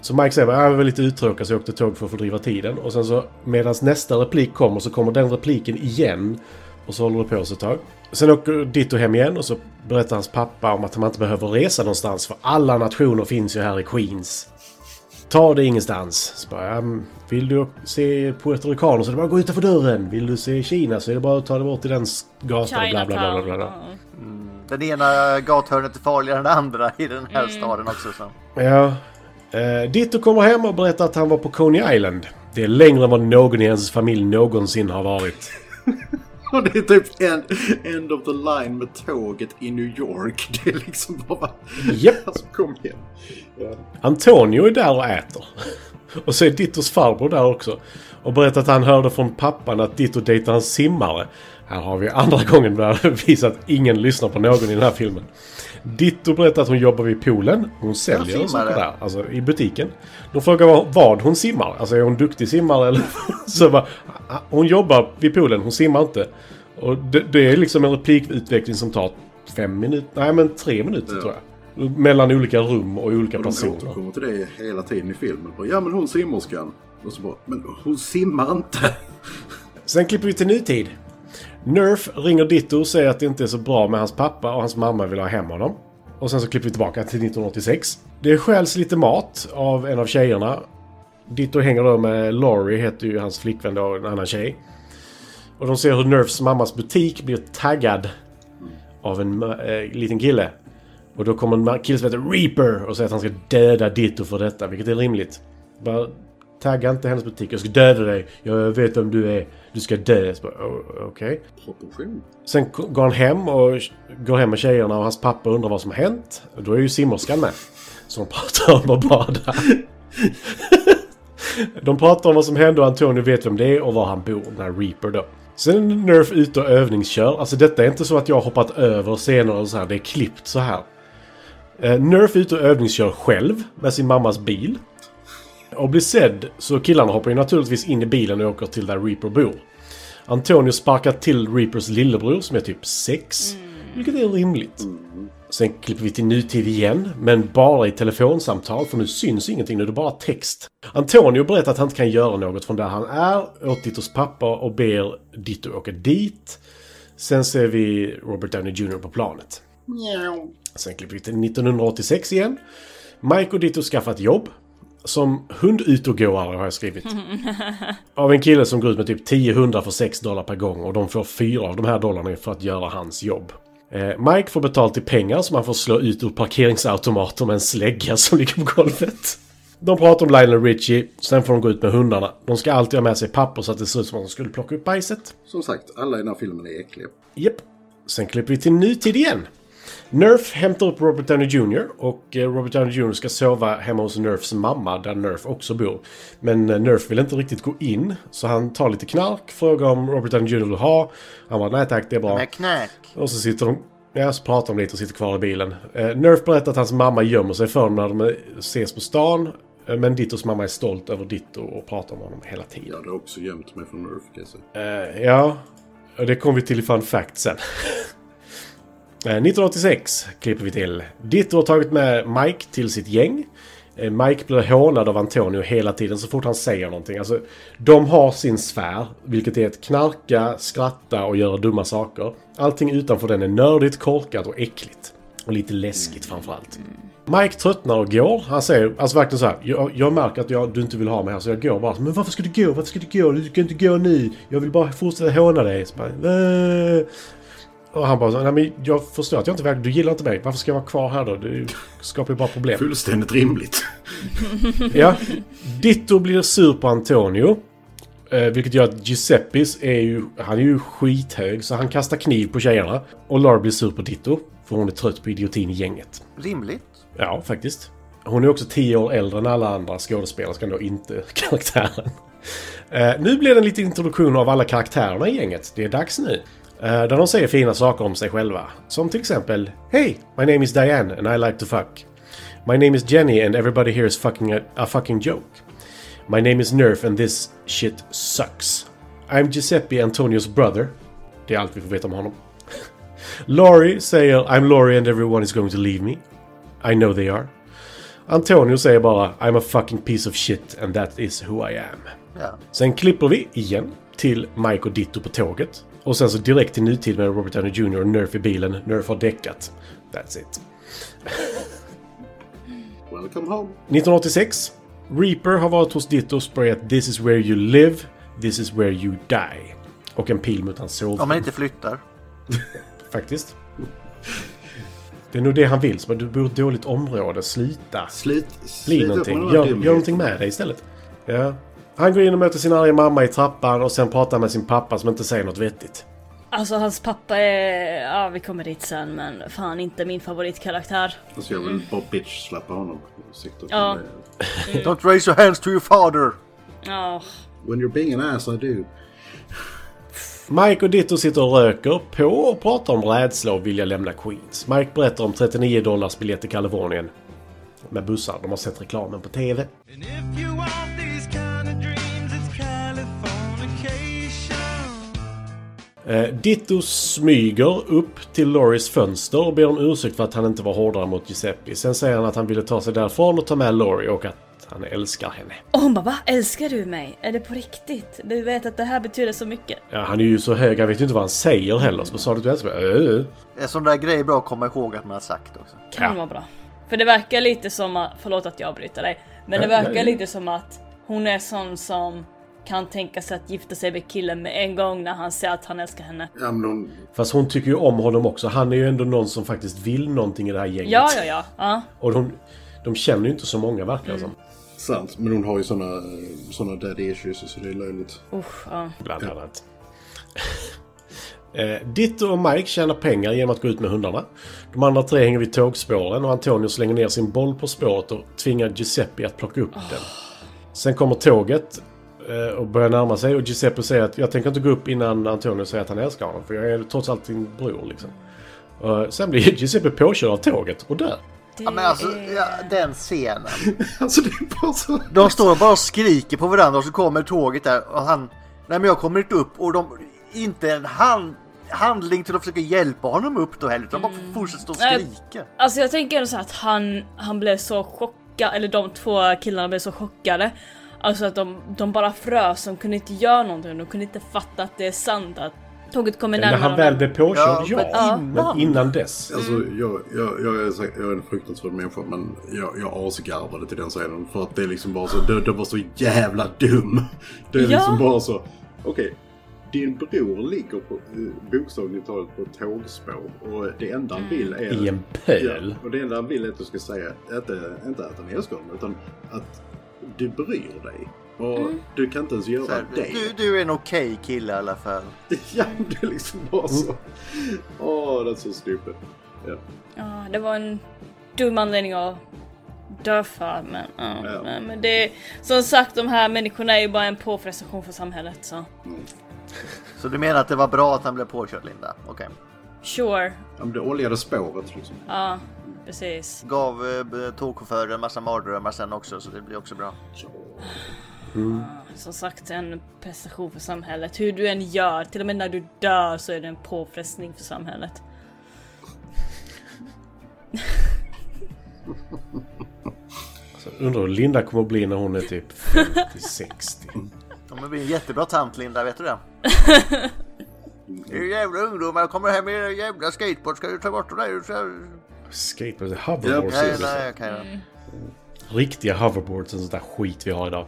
S4: Så Mike säger att jag var lite uttråkad så jag åkte tåg för att fördriva tiden. Och sen så medan nästa replik kommer så kommer den repliken igen. Och så håller det på så ett tag. Sen åker Ditto hem igen och så berättar hans pappa om att han inte behöver resa någonstans för alla nationer finns ju här i Queens. Ta det ingenstans. Så bara, "Ja, men vill du se puertoricaner så är det bara att gå utanför dörren. Vill du se Kina så är det bara att ta dig bort till den s- gatan. Bla, bla, bla, bla, bla, bla.
S1: Chinatown.
S2: Den ena gathörnet är farligare än den andra i den här staden också. Så.
S4: Ja. Eh, Ditto kommer hem och berättar att han var på Coney Island. Det är längre än vad någon i hans familj någonsin har varit.
S5: Och det är typ end, end of the line med tåget i New York. Det är liksom bara...
S4: Japp.
S5: Alltså, kom igen. Ja.
S4: Antonio är där och äter. Och så är Dittos farbror där också. Och berättar att han hörde från pappan att Ditto dejtar en simmare. Här har vi andra gången där det visar att ingen lyssnar på någon i den här filmen. Ditto berättar att hon jobbar vid poolen. Hon säljer
S2: simmare.
S4: och sånt där. Alltså i butiken. De frågar vad, vad hon simmar. Alltså är hon duktig simmare eller? så bara, "Ah, hon jobbar vid poolen, hon simmar inte. Och det, det är liksom en replikutveckling som tar fem minuter. Nej men tre minuter tror jag. Mellan olika rum och olika
S5: Och de
S4: personer.
S5: återkommer till det hela tiden i filmen. Bara, ja, men hon simmerskan. Och så bara, men hon simmar inte.
S4: Sen klipper vi till nutid. Nerf ringer Ditto och säger att det inte är så bra med hans pappa och hans mamma vill ha hem honom. Och sen så klipper vi tillbaka till 1986. Det stjäls lite mat av en av tjejerna. Ditto hänger då med Laurie, heter ju hans flickvän då, en annan tjej. Och de ser hur Nerfs mammas butik blir taggad av en eh, liten kille. Och då kommer en ma- kille som heter Reaper och säger att han ska döda Ditto för detta, vilket är rimligt. Bara, tagga inte hennes butik, jag ska döda dig. Jag vet vem du är. Du ska dö. Så bara, "O- Okej.
S5: Proportion.
S4: Sen k- går han hem och går hem med tjejerna och hans pappa undrar vad som har hänt. Och Då är ju simmerskan med. Så de pratar om att bada. De pratar om vad som hände och Antonio vet vem det är och var han bor, den här Reaper då. Sen är Nerf ut och övningskör. Alltså detta är inte så att jag har hoppat över scener och så här. Det är klippt så här. Eh, Nerf är ute och övningskör själv med sin mammas bil. Och blir sedd så killarna hoppar ju naturligtvis in i bilen och åker till där Reaper bor. Antonio sparkar till Reapers lillebror som är typ 6. Vilket är rimligt. Sen klipper vi till nutid igen, men bara i telefonsamtal för nu syns ingenting, nu är det bara text. Antonio berättar att han inte kan göra något från där han är åt Dittos pappa och ber Ditto åka dit. Sen ser vi Robert Downey Jr på planet. Sen klipper vi till 1986 igen. Mike och Ditto skaffar ett jobb. Som hundutogåare har jag skrivit. Av en kille som går ut med typ 10 hundar för 6 dollar per gång och de får fyra av de här dollarna för att göra hans jobb. Eh, Mike får betalt i pengar som han får slå ut ur parkeringsautomater med en slägga som ligger på golvet. De pratar om Lionel Richie, sen får de gå ut med hundarna. De ska alltid ha med sig papper så att det ser ut som att de skulle plocka upp bajset.
S5: Som sagt, alla i den här filmen är äckliga.
S4: Japp. Sen klipper vi till nutid igen. Nerf hämtar upp Robert Downey Jr och eh, Robert Downey Jr ska sova hemma hos Nerfs mamma där Nerf också bor. Men eh, Nerf vill inte riktigt gå in så han tar lite knark, frågar om Robert Downey Jr vill ha. Han bara nej tack det är bra.
S2: Med knäck.
S4: Och så sitter de... Ja, så pratar de lite och sitter kvar i bilen. Eh, Nerf berättar att hans mamma gömmer sig för honom när de eh, ses på stan. Eh, men Dittos mamma är stolt över Ditto och pratar om honom hela tiden.
S5: Jag hade också gömt mig från Nerf, kan jag säga.
S4: Eh, ja, och det kommer vi till i fun fact sen. Eh, 1986 klipper vi till. Ditto har tagit med Mike till sitt gäng. Eh, Mike blir hånad av Antonio hela tiden så fort han säger någonting. Alltså, de har sin sfär, vilket är att knarka, skratta och göra dumma saker. Allting utanför den är nördigt, korkat och äckligt. Och lite läskigt framförallt. Mike tröttnar och går. Han säger alltså verkligen så här. Jag, jag märker att jag, du inte vill ha mig här så jag går bara. Men varför ska du gå? Varför ska du gå? Du ska inte gå nu. Jag vill bara fortsätta håna dig. Så bara, "Äh." och han bara så, Nej, men jag förstår att jag inte verkar... Du gillar inte mig. Varför ska jag vara kvar här då? Du skapar ju bara problem.
S5: Fullständigt rimligt.
S4: Ja. Ditto blir sur på Antonio. eh, Vilket gör att Giuseppis är ju... Han är ju skithög så han kastar kniv på tjejerna. Och Laura blir sur på Ditto. För hon är trött på idiotin i gänget.
S2: Rimligt.
S4: Ja, faktiskt. Hon är också tio år äldre än alla andra skådespelerskan då, inte karaktären. Eh, nu blir det en liten introduktion av alla karaktärerna i gänget. Det är dags nu. Eh, där de säger fina saker om sig själva. Som till exempel Hej! My name is Diane and I like to fuck. My name is Jenny and everybody here is fucking a, a fucking joke. My name is Nerf and this shit sucks. I'm Giuseppe Antonios brother. Det är allt vi får veta om honom. Laurie säger I'm Laurie and everyone is going to leave me. I know they are. Antonio säger bara I'm a fucking piece of shit and that is who I am.
S2: Ja.
S4: Sen klipper vi igen till Mike och Ditto på tåget. Och sen så direkt till nutid med Robert Downey Jr och Nerf i bilen. Nerf har däckat. That's it.
S5: Welcome home.
S4: 1986. Reaper har varit hos Ditto och sprayat This is where you live, this is where you die. Och en pil mot hans sovrum.
S2: Om man inte flyttar.
S4: Faktiskt. Det är nog det han vill. Så bara, du bor i ett dåligt område, sluta.
S5: Slit...
S4: Bli
S5: slit upp
S4: någonting.
S5: med den här
S4: Gör, gör
S5: dumheten.
S4: någonting med det istället. Ja. Han går in och möter sin arga mamma i trappan och sen pratar med sin pappa som inte säger något vettigt.
S1: Alltså hans pappa är... Ja, vi kommer dit sen men fan inte min favoritkaraktär.
S5: Alltså jag vill bara bitch-slappa honom. Ursäkta.
S1: Ja.
S5: Men, eh,
S4: Mm.
S2: Don't raise your hands to your father!
S1: Ja,
S5: When you're being an ass I do.
S4: Mike och Ditto sitter och röker på och pratar om rädsla och vilja lämna Queens. Mike berättar om 39 dollars biljett till Kalifornien. Med bussar, de har sett reklamen på TV.
S8: And if you want these kind of dreams, it's Californication.
S4: Eh, Ditto smyger upp till Loris fönster och ber om ursäkt för att han inte var hårdare mot Giuseppe. Sen säger han att han ville ta sig därifrån och ta med Lori och att han älskar henne.
S1: Och hon bara va? Älskar du mig? Är det på riktigt? Du vet att det här betyder så mycket.
S4: Ja, han är ju så hög, han vet ju inte vad han säger heller. Så sa du att du älskar mig? Ö, ö.
S2: En sån där grej är bra att komma ihåg att man har sagt också.
S1: Kan vara bra. För det verkar lite som att, förlåt att jag avbryter dig, men det
S4: Nej,
S1: verkar
S4: nej.
S1: lite som att hon är sån som kan tänka sig att gifta sig med killen med en gång när han säger att han älskar henne.
S4: Mm.
S5: Ja, men hon,
S4: Fast hon tycker ju om honom också. Han är ju ändå någon som faktiskt vill någonting i det här gänget.
S1: Ja, ja, ja. ja.
S4: Och de, de känner ju inte så många verkar det som.
S5: sant, men hon har ju såna, eh, såna daddy issues så det är löjligt.
S1: Usch, ja.
S4: Bland annat. Eh, Ditto och Mike tjänar pengar genom att gå ut med hundarna. De andra tre hänger vid tågspåren och Antonio slänger ner sin boll på spåret och tvingar Giuseppe att plocka upp den. Sen kommer tåget eh, och börjar närma sig och Giuseppe säger att jag tänker inte gå upp innan Antonio säger att han älskar honom för jag är trots allt din bror liksom. Eh, sen blir Giuseppe påkörd av tåget och dör.
S1: Det
S2: Ja, men alltså,
S1: är...
S2: ja, den scenen.
S5: Alltså det är bara så...
S2: De står och bara skriker på varandra och så kommer tåget där och han... Nej men jag kommer inte upp och de... Inte en hand, handling till att försöka hjälpa honom upp då heller utan bara fortsätter stå och
S1: Nej.
S2: skrika.
S1: Alltså jag tänker ändå så här att han, han blev så chockad, eller de två killarna blev så chockade. Alltså att de, de bara frös, de kunde inte göra någonting, de kunde inte fatta att det är sant att tåget kommer
S4: När
S1: närmare
S4: han väl blev påkörd, ja.
S2: Ja, men
S4: Men innan dess.
S5: Alltså jag, jag, jag, är, säkert- jag är en fruktansvärd människa men jag, jag asgarvade till den scenen. För att det är liksom bara så, den, den var så jävla dum. Det är
S1: Ja.
S5: liksom bara så, okej. din bror ligger på, eh, bokstavligt talat på ett tågspår och det enda han vill är...
S4: I en pöl.
S5: Ja, och det enda han vill är att du ska säga, inte, inte att han älskar honom utan att du bryr dig. Och du kan inte ens göra
S2: Mm. Så här,
S5: det.
S2: du, du är en okej kille i alla fall.
S5: Ja, det är liksom bara så.
S4: Mm.
S5: Åh, det är så stupid. Ja.
S1: Ja, det var en dum anledning att dö för, men, ja,
S5: Ja.
S1: men- men det... Som sagt, de här människorna är ju bara en påfrestation för samhället, så...
S2: Så du menar att det var bra att han blev påkörd Linda? Okej.
S1: Sure,
S5: Ja, men det oljade spåret liksom.
S1: ja, precis.
S2: Gav eh, tågchauffören en massa mardrömmar sen också så det blir också bra.
S1: Som sagt, en prestation för samhället. Hur du än gör, till och med när du dör så är det en påfrestning för samhället.
S4: Undrar hur Linda kommer att bli när hon är typ 50-60.
S2: Ja, men Det blir en jättebra tant Linda, vet du det? Du jävla ungdomar kommer hem med era jävla skateboard. Ska du ta bort dem där? Du ska-
S4: Skateboard,
S5: Ja,
S4: hoverboards.
S2: Nej,
S5: Precis.
S2: nej, jag kan göra.
S4: Riktiga hoverboards och sånt där skit vi har idag.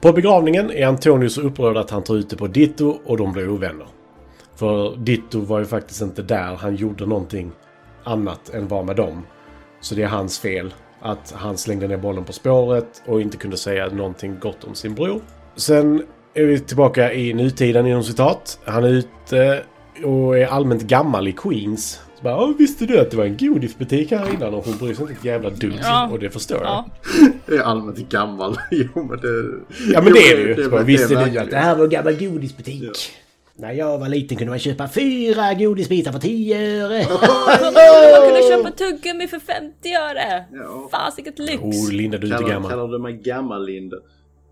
S4: På begravningen är Antonio så upprörd att han tar ut det på Ditto och de blir ovänner. För Ditto var ju faktiskt inte där. Han gjorde någonting annat än var med dem. Så det är hans fel att han slängde ner bollen på spåret och inte kunde säga någonting gott om sin bror. Sen är vi tillbaka i nutiden inom citat. Han är ute och är allmänt gammal i Queens. Så bara, "Ja, visste du att det var en godisbutik här innan och hon bryr sig inte ett jävla dugg
S1: Ja.
S4: och det förstår jag.
S1: Ja.
S5: Det är allmänt gammal. jo, men det...
S4: Ja men
S5: jo,
S4: det är det ju. Så bara, visste du
S5: verkligen-
S4: att det här var en gammal godisbutik? När jag var liten kunde man köpa fyra godisbitar för 10 öre.
S1: Jag kunde köpa tuggummi för 50 öre!
S5: Ja.
S1: Fan vilket lyx!
S4: Oh Linda, du är inte
S5: Kallar,
S4: gammal.
S5: kallar du mig gammal, Linda?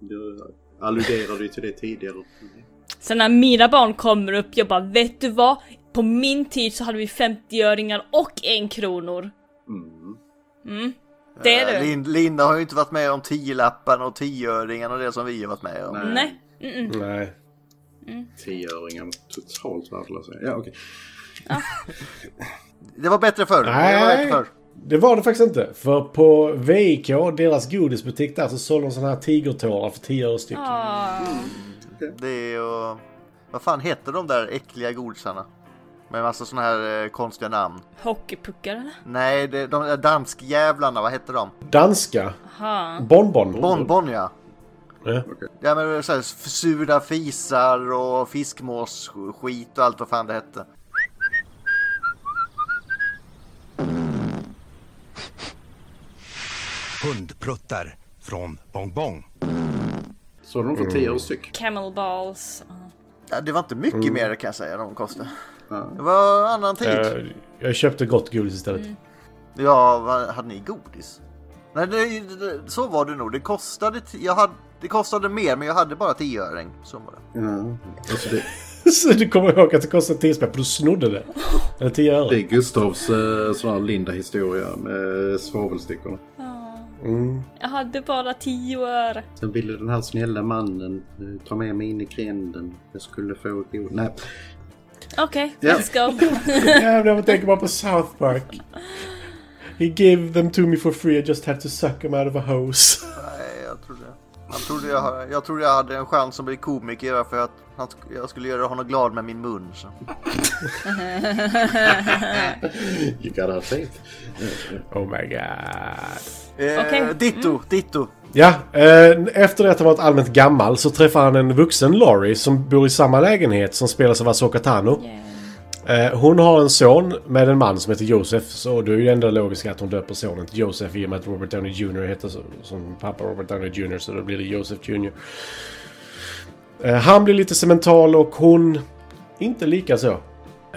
S5: Du alluderade ju till det tidigare.
S1: Sen när mina barn kommer upp, jag bara vet du vad? På min tid så hade vi 50-öringar och en kronor.
S5: Mm.
S1: Det är
S2: Eh,
S1: du.
S2: Lin- Linda har ju inte varit med om tiolappen och tioöringen och det som vi har varit med om.
S1: Nej.
S4: Nej.
S5: Tioöringar. Totalt värdelösa. Ja, okej.
S2: Det var bättre förr. Det var
S4: Nej.
S2: bättre förr.
S4: Det var det faktiskt inte. För på VIK, deras godisbutik där, så sålde de såna här tigertårar för 10 öre styck.
S2: Det är ju... Vad fan heter de där äckliga godisarna? Med massa såna här eh, konstiga namn.
S1: Hockeypuckar eller?
S2: Nej, det, de där danskjävlarna, vad hette de?
S4: Danska.
S1: Aha.
S4: Bonbon.
S2: Bonbon ja.
S4: Ja.
S2: Ja men så här, sura fisar och fiskmåsskit och allt vad fan det hette.
S9: Hundpruttar från Bongbong.
S5: Så de för
S4: Mm.
S5: 10 år styck.
S1: Camel balls. Ja.
S2: Ja, det var inte mycket mer kan jag säga de kostade. Det var annan tid.
S4: Eh, jag köpte gott godis istället.
S2: Ja, vad, hade ni godis? Nej, det, det, så var det nog. Det kostade, t- jag hade, det kostade mer, men jag hade bara tioöring. Så var det.
S5: Ja. Alltså det,
S4: Så du kommer ihåg att det kostade 10 spänn för du snodde det. Eller 10
S5: det
S4: öre.
S5: är Gustavs eh, sån här linda historia med svavelstickorna.
S1: Jag hade bara tio öre.
S5: Sen ville den här snälla mannen eh, ta med mig in i gränden. Jag skulle få god... Nej.
S1: Okej,
S5: Ja.
S1: let's go.
S4: Jävlar vad tänker bara på South Park. He gave them to me for free, I just had to suck them out of a hose.
S2: Nej, jag trodde, jag, trodde jag, jag trodde jag hade en chans att bli komiker för att han, sk- jag skulle göra honom glad med min mun. Så. Eh,
S5: You gotta have faith.
S4: Oh my god.
S2: Eh,
S1: Okej.
S2: Ditto, ditto.
S4: Ja, eh, efter det att han varit allmänt gammal så träffar han en vuxen Laurie som bor i samma lägenhet som spelas av Asoka Tano. Eh, hon har en son med en man som heter Josef. Så det är ju det enda logiska att hon döper sonen till Josef i och med att Robert Downey Jr heter så, som pappa Robert Downey Jr. Så då blir det Josef Jr. Eh, han blir lite cemental och hon inte lika så.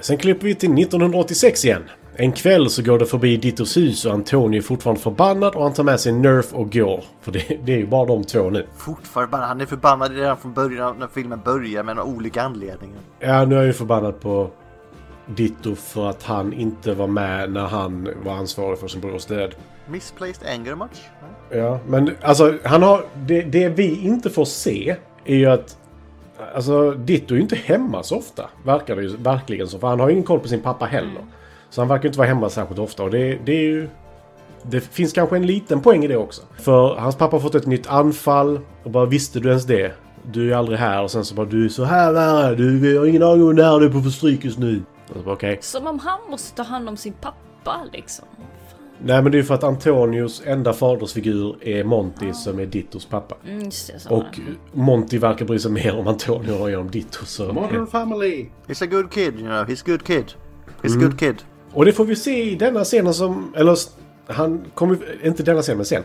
S4: Sen klipper vi till 1986 igen. En kväll så går det förbi Dittos hus och Antonio är fortfarande förbannad och han tar med sig Nerf och går. För det, det är ju bara de två nu.
S2: Fortfarande, bara- han är förbannad redan från början när filmen börjar med några olika anledningar.
S4: Ja, nu är jag ju förbannad på Ditto för att han inte var med när han var ansvarig för sin brors död.
S2: Misplaced anger much? Nej.
S4: Ja, men alltså han har... Det, det vi inte får se är ju att... Alltså Ditto är ju inte hemma så ofta. Verkar det ju verkligen så. För han har ju ingen koll på sin pappa heller. Så han verkar ju inte vara hemma särskilt ofta. Och det, det är ju... Det finns kanske en liten poäng i det också. För hans pappa har fått ett nytt anfall. Och bara visste du ens det? Du är aldrig här. Och sen så bara du är så här nära. Du har ingen aning om när du är på för stryk just nu. Och så bara okej.
S1: Som om han måste ta hand om sin pappa liksom.
S4: Nej men det är ju för att Antonios enda fadersfigur är Monty som är Dittos pappa.
S1: Mm, just det, så var
S4: Och Monty verkar bry sig mer om Antonio genom Ditto. Så.
S5: Modern family!
S2: He's a good kid, you know. He's a good kid. He's a good kid.
S4: Och det får vi se i denna scenen som... Eller s- han kommer... Inte denna scenen, men sen.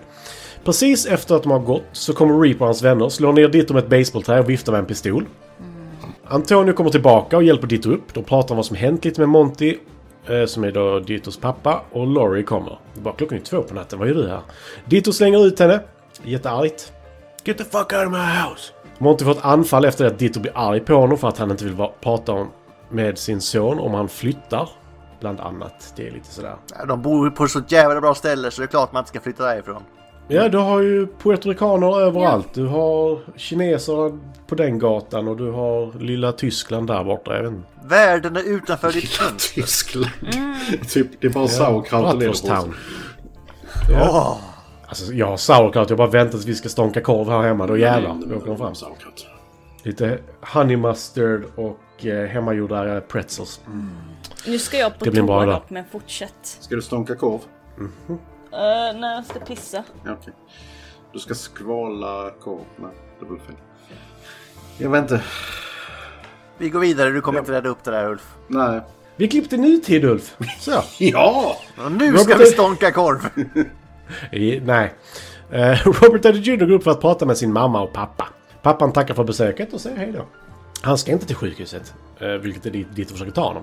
S4: Precis efter att de har gått så kommer Reaper och hans vänner, slår ner Ditto med ett baseballträ och viftar med en pistol. Antonio kommer tillbaka och hjälper Ditto upp. De pratar om vad som hänt lite med Monty, eh, som är då Dittos pappa, och Laurie kommer. Det var klockan är två på natten, vad gör du här? Ditto slänger ut henne, jätteargt. Get the fuck out of my house! Monty får ett anfall efter att Ditto blir arg på honom för att han inte vill va- prata om, med sin son om han flyttar. Bland annat. Det är lite sådär.
S2: Ja, De bor ju på så jävla bra ställe så det är klart man inte ska flytta därifrån.
S4: Ja, du har ju puertoricaner överallt. Du har kineser på den gatan och du har lilla Tyskland där borta. Jag vet inte.
S2: Världen är utanför ditt fönster.
S5: Tyskland. typ, det är bara sauerkraut och leverpastej.
S4: Bratwursttown. Ja. Alltså, jag har sauerkraut. Jag bara väntar tills vi ska stånka korv här hemma. Då jävlar. Då åker de fram.
S5: Mm. Sauerkraut.
S4: Lite honey mustard och eh, hemmagjorda pretzels. Mm.
S1: det. Nu ska jag på
S4: Det blir en bra
S1: toa
S4: dag.
S1: dock, men fortsätt.
S5: Ska du stånka korv?
S1: Uh, när jag ska pissa.
S5: Ja, okej. Du ska skvala korv. Nej, det blev fel. Jag vet inte.
S2: Vi går vidare, du kommer inte rädda upp det där Ulf.
S5: Nej.
S4: Vi klippte ny tid, Ulf. Så.
S5: Ja!
S2: Och nu
S4: Robert-
S2: ska vi stånka korv!
S4: I, nej. Eh, Robert Downey Jr går upp för att prata med sin mamma och pappa. Pappan tackar för besöket och säger hej då. Han ska inte till sjukhuset, eh, vilket är dit, dit de försöker ta honom.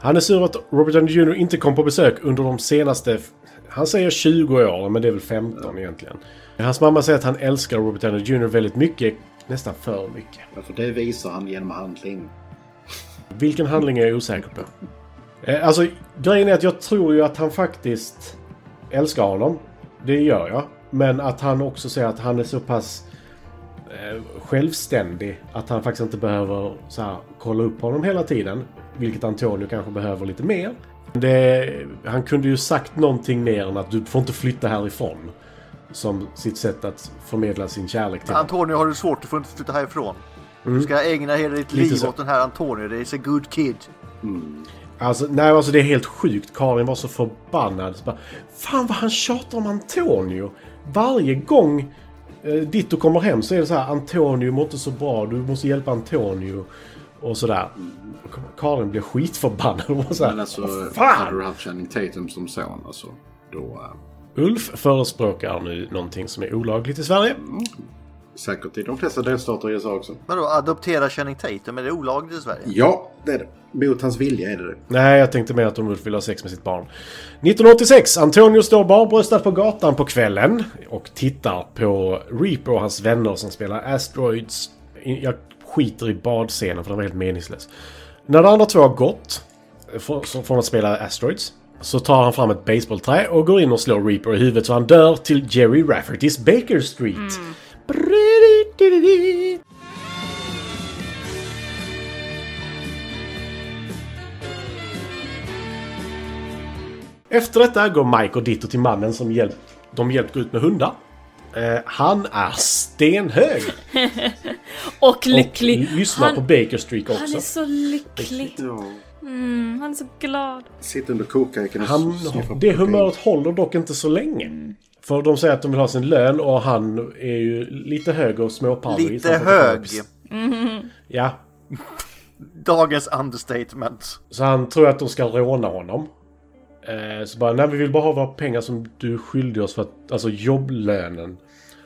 S4: Han är sur att Robert Downey Jr inte kom på besök under de senaste... f- Han säger 20 år, men det är väl 15 egentligen. Hans mamma säger att han älskar Robert Downey Jr väldigt mycket, nästan för mycket.
S5: Ja, För det visar han genom handling.
S4: Vilken handling är jag osäker på. Eh, Alltså, grejen är att jag tror ju att han faktiskt älskar honom. Det gör jag. Men att han också säger att han är så pass eh, självständig att han faktiskt inte behöver så här, kolla upp honom hela tiden. Vilket Antonio kanske behöver lite mer. Det, han kunde ju sagt någonting mer än att du får inte flytta härifrån. Som sitt sätt att förmedla sin kärlek till honom.
S2: Antonio har du svårt, du får inte flytta härifrån. Du ska ägna hela ditt
S4: Lite
S2: liv
S4: så.
S2: åt den här Antonio, det är a good kid.
S4: Alltså, nej, alltså det är helt sjukt. Karin var så förbannad. Så bara, Fan vad han tjatar om Antonio. Varje gång eh, Ditto kommer hem så är det så här Antonio mår inte så bra, du måste hjälpa Antonio. Och sådär. Karin blir skitförbannad. Hon var så här,
S5: Men alltså,
S4: "Vad
S5: hade
S4: fan!
S5: du haft Channing Tatum som son, alltså, då... eh,
S4: Ulf förespråkar nu någonting som är olagligt i Sverige.
S5: säkert i de flesta delstater i USA också.
S2: Vadå, adoptera Channing Tatum? Är det olagligt i Sverige?
S5: Ja, det är det. Mot hans vilja är det det.
S4: Nej, jag tänkte mer att om Ulf vill ha sex med sitt barn. 1986. Antonio står barbröstad på gatan på kvällen och tittar på Reaper och hans vänner som spelar Asteroids. Jag skiter i badscenen för den var helt meningslös. När de andra två har gått för- så- från att spela Asteroids så tar han fram ett baseballträ och går in och slår Reaper i huvudet så han dör till Jerry Raffertys Baker Street. Brrrri-di-di-di. Efter detta går Mike och Ditto till mannen som hjälpt, de hjälpt gå ut med hundar. Eh, han är stenhög!
S1: Och lycklig.
S4: Och lyssnar
S1: han,
S4: på Baker Street också.
S1: han är så lycklig. Mm, han är så glad.
S5: Sitter under kokhöken och
S4: Han,
S5: sniffar
S4: det
S5: kokain.
S4: humöret håller dock inte så länge. För de säger att de vill ha sin lön och han är ju lite hög och småparvis.
S2: Lite
S4: Han får
S2: hög.
S4: inte komma upp. Ja.
S2: Dagens understatement.
S4: Så han tror att de ska råna honom. Eh, så bara, nej vi vill bara ha våra pengar som du skyllde oss för att, alltså jobblönen.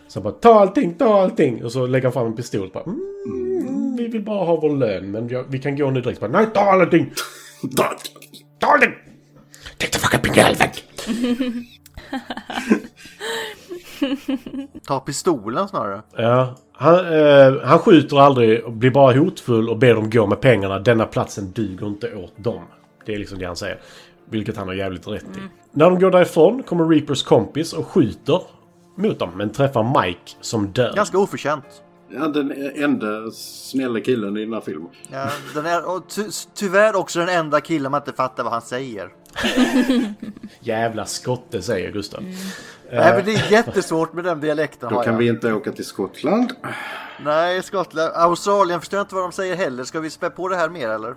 S4: Så han bara, ta allting, ta allting! Och så lägger han fram en pistol bara, mm, mm, vi vill bara ha vår lön men jag, vi kan gå nu direkt. Bara, nej ta allting! Ta, ta allting! Take the fucking pingelväg!
S2: Ta pistolen snarare.
S4: Ja, han, eh, han skjuter aldrig, och blir bara hotfull och ber dem gå med pengarna. Denna platsen duger inte åt dem. Det är liksom det han säger. Vilket han har jävligt rätt
S1: Mm.
S4: i. När de går därifrån kommer Reapers kompis och skjuter mot dem, men träffar Mike som dör.
S2: Ganska oförtjänt.
S5: Ja, den enda snälla killen i den här filmen.
S2: Ja, den är och ty, tyvärr också den enda killen man inte fattar vad han säger.
S4: Jävla skotte, säger Gustav.
S1: Mm.
S2: Nej, men det är jättesvårt med den dialekten.
S5: Då
S2: har
S5: kan
S2: jag.
S5: vi inte åka till Skottland.
S2: Nej, Skottland. Australien förstår jag inte vad de säger heller. Ska vi spä på det här mer eller?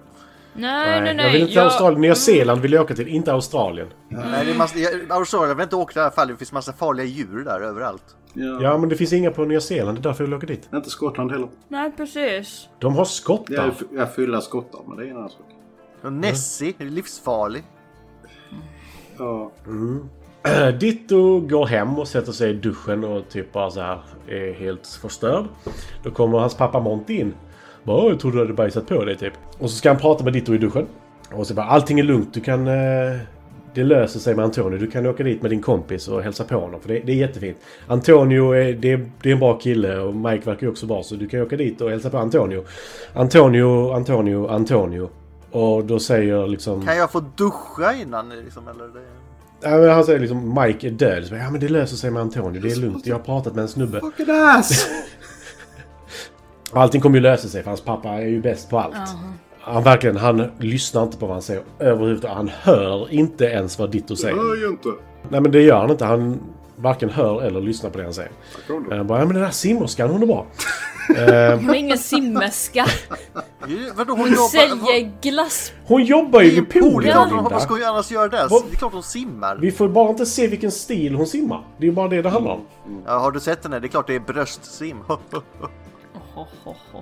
S1: Nej, nej, nej.
S4: jag vill inte till
S1: jag- Mm.
S4: Australien. Nya Zeeland vill jag åka till, inte Australien.
S2: Nej, det är massa, jag- Australien vill inte åka i alla fall. Det finns massa farliga djur där överallt.
S5: Ja.
S4: Ja, men det finns inga på Nya Zeeland. Det är därför jag vill åka dit.
S5: Inte Skottland heller.
S1: Nej, precis.
S4: De har
S5: Det är
S4: skottar.
S5: f- ja, fylla skottar, men det är en annan sak.
S2: Och Nessie, är livsfarlig.
S5: Ja.
S4: Eh, Ditto går hem och sätter sig i duschen och typ bara så här är helt förstörd. Då kommer hans pappa Monty in. Bara "Åh, jag trodde du hade bajsat på dig typ. Och så ska han prata med Ditto i duschen. Och så bara allting är lugnt, du kan... eh, Det löser sig med Antonio. Du kan åka dit med din kompis och hälsa på honom. För det, det är jättefint. Antonio är, det, är- det är en bra kille och Mike verkar ju också bra. Så du kan åka dit och hälsa på Antonio. Antonio, Antonio, Antonio. Och då säger liksom...
S2: Kan jag få duscha innan liksom, eller? Det...
S4: Ja, men han säger liksom Mike är död. Så, bara, ja men det löser sig med Antonio. Det är lugnt. Jag har pratat med en snubbe.
S5: Fucking ass!
S4: Och Allting kommer ju lösa sig för hans pappa är ju bäst på allt. Han verkligen, han lyssnar inte på vad han säger överhuvudtaget. Han hör inte ens vad Ditto säger.
S5: Hör ju inte.
S4: Nej men det gör han inte. Han varken hör eller lyssnar på det han säger. Han bara, ja men den där simmerskan hon är bra.
S1: Hon är ingen simmerska.
S2: Ju- Vadå, hon
S1: Hon
S2: jobbar... vad-
S1: säljer glass.
S4: Hon jobbar ju vid poolen
S2: Det är klart hon
S4: Linda.
S2: hoppas ska ju annars göra det.
S4: Vad-
S2: Det är klart hon simmar.
S4: Vi får bara inte se vilken stil hon simmar. Det är ju bara det det handlar om.
S2: Ja, har du sett henne? Det är klart det är bröstsim.
S1: Ho, ho, ho.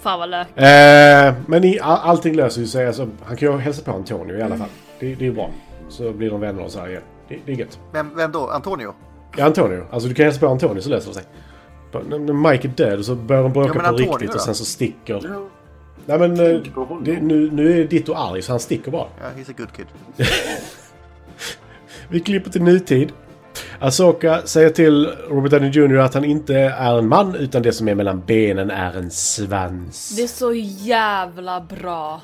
S1: Fan vad lök.
S4: Eh, men i, all, allting löser ju sig. Alltså, han kan ju hälsa på Antonio i
S2: Mm.
S4: alla fall. Det, det är bra. Så blir de vänner och så här igen. Det, det är gött.
S2: Vem, vem då? Antonio?
S4: Ja, Antonio. Alltså du kan hälsa på Antonio så löser det sig. Bara, När när Mike är död så börjar de bråka
S2: Ja, men
S4: på
S2: Antonio
S4: riktigt
S2: då?
S4: och sen så sticker...
S5: Ja.
S4: Nej men... eh,
S5: Tänk på honom.
S4: Det, nu, nu är Ditto arg så han sticker bara.
S2: Ja, he's a good kid.
S4: Vi klipper till nutid. Asoka säger till Robert Downey Jr att han inte är en man utan det som är mellan benen är en svans.
S1: Det är så jävla bra.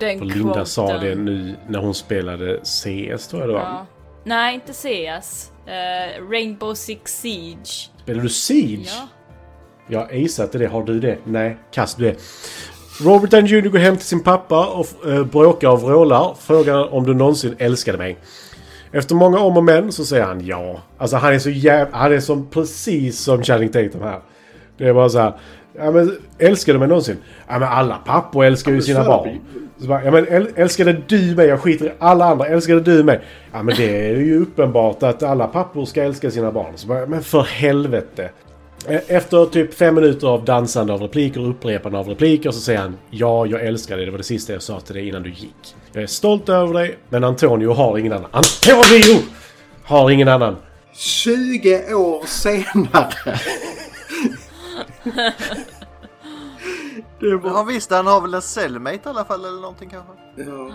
S1: Den
S4: Och Linda sa det
S1: quoten.
S4: nu när hon spelade CS tror jag det var.
S1: Ja. Nej, inte CS. Eh, Rainbow Six Siege.
S4: Spelar du Siege?
S1: Ja.
S4: Jag har aceat det. Har du det? Nej, kast du det. Robert Downey Jr går hem till sin pappa och eh, bråkar och vrålar. Frågar om du någonsin älskade mig. Efter många om och men så säger han ja. Alltså han är så jävla... Han är som precis som Channing Tatum här. Det är bara så här. Ja men älskar du mig någonsin? Ja men alla pappor älskar ju sina barn. Så bara, ja men äl- älskade du mig? Jag skiter i alla andra. Älskade du mig? Ja men det är ju uppenbart att alla pappor ska älska sina barn. Så bara, men för helvete. E- Efter typ fem minuter av dansande av repliker och upprepande av repliker så säger han Ja, jag älskar dig. Det var det sista jag sa till dig innan du gick. Jag är stolt över dig, men Antonio har ingen annan. Antonio! Har ingen annan.
S5: 20 år senare. det var...
S2: Ja visst, han har väl en cellmate i alla fall eller någonting kanske?
S5: Ja.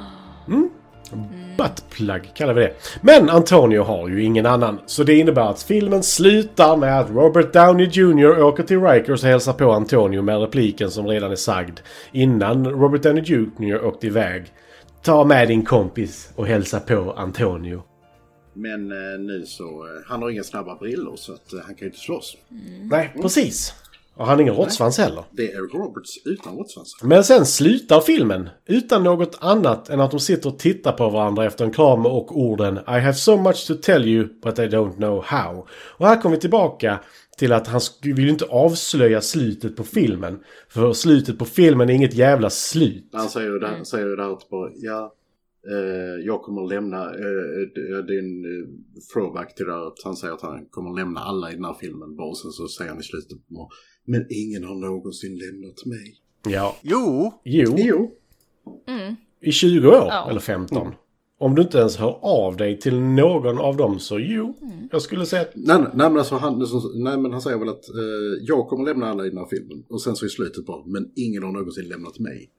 S4: Buttplug kallar vi det. Men Antonio har ju ingen annan. Så det innebär att filmen slutar med att Robert Downey Jr åker till Rikers och hälsar på Antonio med repliken som redan är sagd. Innan Robert Downey Jr åkte iväg. Ta med din kompis och hälsa på Antonio.
S5: Men eh, nu så, eh, han har inga snabba brillor så att eh, han kan ju inte slåss.
S4: Nej, Mm. precis. Och han har ingen råttsvans heller.
S5: Det är Roberts utan råttsvansar.
S4: Men sen slutar filmen utan något annat än att de sitter och tittar på varandra efter en kram och orden I have so much to tell you but I don't know how. Och här kommer vi tillbaka till att han sk- vill ju inte avslöja slutet på filmen. För slutet på filmen är inget jävla slut.
S5: Han säger ju det
S4: Mm.
S5: här, säger ju det här typ bara, ja, eh, jag kommer lämna, eh, det- det är en eh, throwback till det här, att han säger att han kommer lämna alla i den här filmen bara och sen så säger han i slutet bara, men ingen har någonsin lämnat mig.
S4: Ja,
S2: Jo,
S4: jo. Mm.
S5: Jo,
S4: I 20 år,
S1: Ja.
S4: eller 15. Om du inte ens hör av dig till någon av dem så jo. Jag skulle säga att
S5: nej, nej, nej, men alltså han, nej men han säger väl att eh, jag kommer lämna alla i den här filmen och sen så i slutet bara, men ingen har någonsin lämnat mig.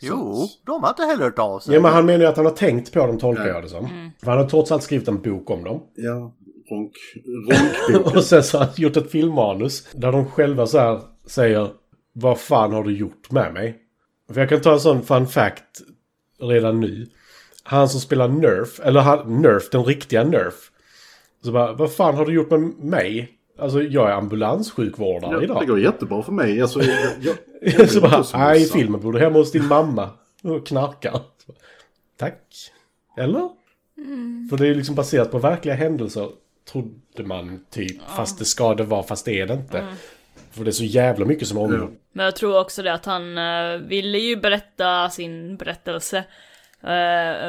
S2: jo, de har inte heller hört av sig.
S4: Ja, men han menar ju att han har tänkt på dem, tolkar
S5: Ja.
S4: jag det som. För han har trots allt skrivit en bok om dem.
S5: Ja, ronk, ronkbok.
S4: Och sen så har han gjort ett filmmanus där de själva så här säger Vad fan har du gjort med mig? För jag kan ta en sån fun fact redan nu. Han som spelar Nerf, eller han, Nerf, den riktiga Nerf. Så bara, vad fan har du gjort med mig? Alltså jag är ambulanssjukvårdare
S5: Ja, det
S4: idag.
S5: går jättebra för mig. Alltså, jag, jag,
S4: så
S5: jag-
S4: bara,
S5: jag-
S4: nej filmen bor du hemma hos din mamma och knarkar. Så, Tack. Eller? För det är ju liksom baserat på verkliga händelser, trodde man typ. Fast det ska det vara, fast det är det inte. För det är så jävla mycket som är omgjort.
S1: Men jag tror också det att han eh, ville ju berätta sin berättelse. Eh,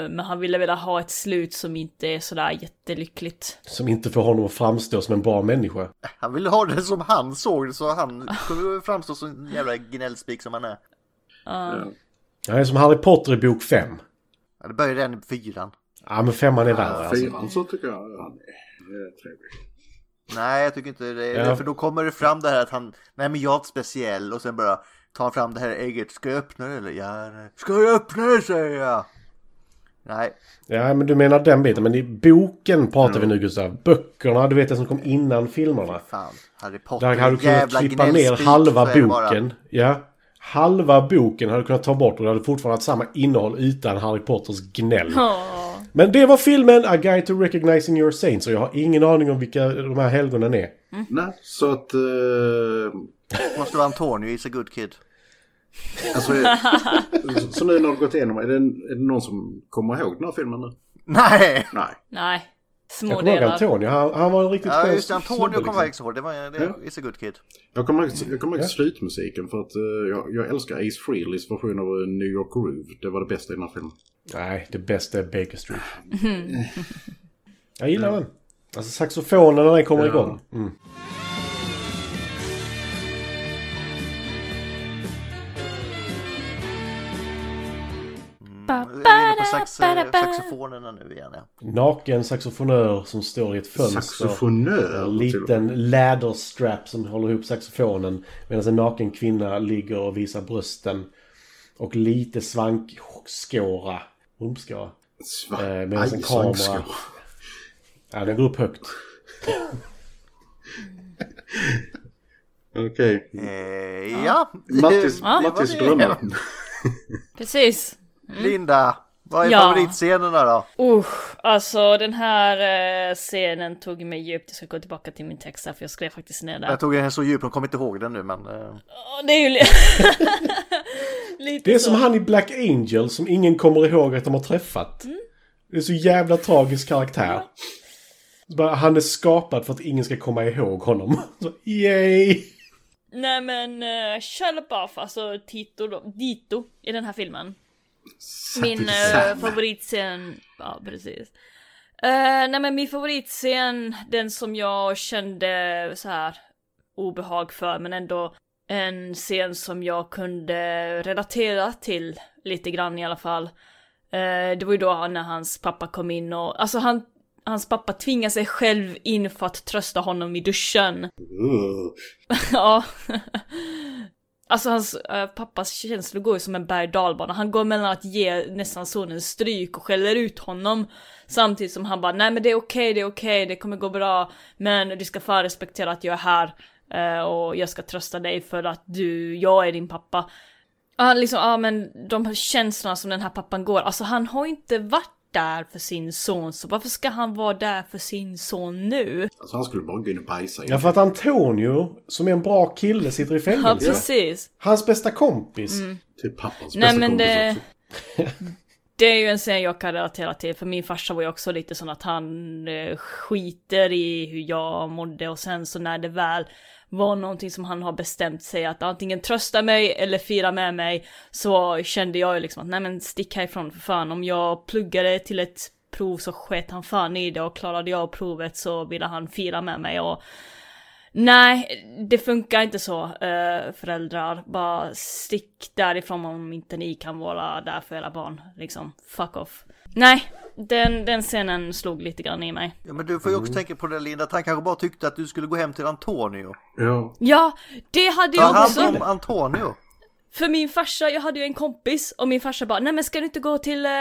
S1: men han ville väl ha ett slut som inte är sådär jättelyckligt.
S4: Som inte får honom att framstå som en bra människa.
S2: Han ville ha det som han såg det så han kommer framstå som en jävla gnällspik som han är.
S5: Ja.
S4: Han är som Harry Potter i bok 5.
S2: Ja, det började redan i fyran.
S4: Ja men femman är värre alltså.
S5: Fyran så tycker jag han är eh, trevlig.
S2: Nej, jag tycker inte det.
S4: Ja.
S2: För då kommer det fram det här att han, nej men jag är inte speciell och sen bara tar han fram det här ägget. Ska jag öppna det eller? Ja, nej. ska jag öppna det säger jag. Nej,
S4: Ja men du menar den biten. Men i boken pratar vi nu Gustav. Böckerna, du vet det som kom innan filmerna.
S2: fan. Harry Potter,
S4: Där hade du kunnat
S2: jävla
S4: klippa ner
S2: gnällspik,
S4: halva
S2: så är det bara.
S4: boken. Ja. Halva boken hade du kunnat ta bort och det hade fortfarande haft samma innehåll utan Harry Potters gnäll.
S1: Ja.
S4: Men det var filmen A Guide to Recognizing Your Saints och jag har ingen aning om vilka de här helgonen är.
S5: Nej, så att... Eh,
S2: Måste vara Antonio, is a good kid.
S5: alltså, så- så nu när det gått igenom, är det, är det någon som kommer ihåg den här filmen nu?
S2: Nej!
S5: Nej.
S1: Nej.
S4: Jag
S1: Små
S4: kommer ihåg
S1: delar.
S4: Antonio, han, han var en riktigt
S2: Ja
S4: skön
S2: just det,
S4: snubbe,
S2: Antonio
S4: liksom.
S2: kommer jag liksom. ihåg. Det var det,
S5: Ja.
S2: is a good kid.
S5: Jag kommer ihåg, jag kommer ihåg slutmusiken för att eh, jag, jag älskar Ace Frehleys version av eh, New York Groove. Det var det bästa i den här filmen.
S4: Nej, det bästa är Baker Street. Jag gillar den. Alltså saxofonen när den kommer igång. Mm.
S2: Jag är inne på eh, sax, saxofonerna nu igen ja.
S4: Naken saxofonör som står i ett fönster.
S5: Saxofonör!
S4: En
S5: till och med.
S4: liten läderstrap som håller ihop saxofonen medan en naken kvinna ligger och visar brösten. Och lite svankskåra. Rumpskåra.
S5: Sva-
S4: eh, med en
S5: Aj,
S4: sån kamera.
S5: svankskor.
S4: Ja, den går upp högt.
S5: Okej.
S2: Eh, ja.
S5: Mattis,
S2: Det var
S5: Mattis
S2: det.
S5: drömmar.
S1: Precis.
S2: Mm. Linda, vad är
S1: Ja.
S2: favoritscenerna då?
S1: Usch, alltså den här eh, scenen tog mig djupt. Jag ska gå tillbaka till min text här för jag skrev faktiskt ner där.
S2: Jag tog den så djup, de kommer inte ihåg den nu men... Eh,
S1: Åh, det är ju li- lite
S4: Det är
S1: så.
S4: som han i Black Angel som ingen kommer ihåg att de har träffat.
S1: Mm.
S4: Det är så jävla tragisk karaktär. Bara, Han är skapad för att ingen ska komma ihåg honom. Så, yay!
S1: Nej men uh, Shalaboff, alltså Tito, då, Dito i den här filmen. Min eh, favoritscen, ja precis. Eh, nej men min favoritscen, den som jag kände så här obehag för men ändå en scen som jag kunde relatera till lite grann i alla fall. Eh, det var ju då han- när hans pappa kom in och, alltså han, hans pappa tvingade sig själv in för att trösta honom i duschen.
S5: Ugh.
S1: Ja. Alltså hans eh, pappas känslor går ju som en berg dalbana. Han går mellan att ge nästan sonen stryk och skäller ut honom. Samtidigt som han bara nej men det är okej, det är okej, det kommer gå bra. Men du ska fan respektera att jag är här. eh, Och jag ska trösta dig för att du, jag är din pappa. Ja liksom, ja men de här känslorna som den här pappan går. Alltså han har ju inte varit där för sin son. Så varför ska han vara där för sin son nu?
S5: Alltså han skulle bara gå in och bajsa.
S4: Ja, för att Antonio, som är en bra kille, sitter i
S1: Ja
S4: fängelse.
S1: precis. Mm.
S4: Hans bästa kompis.
S5: Till typ pappans
S1: Nej,
S5: bästa
S1: men
S5: kompis
S1: det-
S5: också.
S1: Det är ju en scen jag kan relatera till, för min farsa var ju också lite sån att han eh, skiter i hur jag mådde och sen så när det väl var någonting som han har bestämt sig att antingen trösta mig eller fira med mig så kände jag ju liksom att nej men stick härifrån för fan om jag pluggade till ett prov så sket han fan i det och klarade jag provet så ville han fira med mig och Nej, det funkar inte så eh, föräldrar. Bara stick därifrån om inte ni kan vara där för era barn. Liksom, fuck off. Nej, den, den scenen slog lite grann i mig.
S2: Ja, men du får ju
S5: Mm.
S2: också tänka på det Linda, att han kanske bara tyckte att du skulle gå hem till Antonio.
S5: Ja.
S1: Ja, det hade
S2: Ta
S1: jag
S2: hand
S1: också.
S2: om Antonio.
S1: För min farsa, jag hade ju en kompis och min farsa bara nej men ska du inte gå till eh,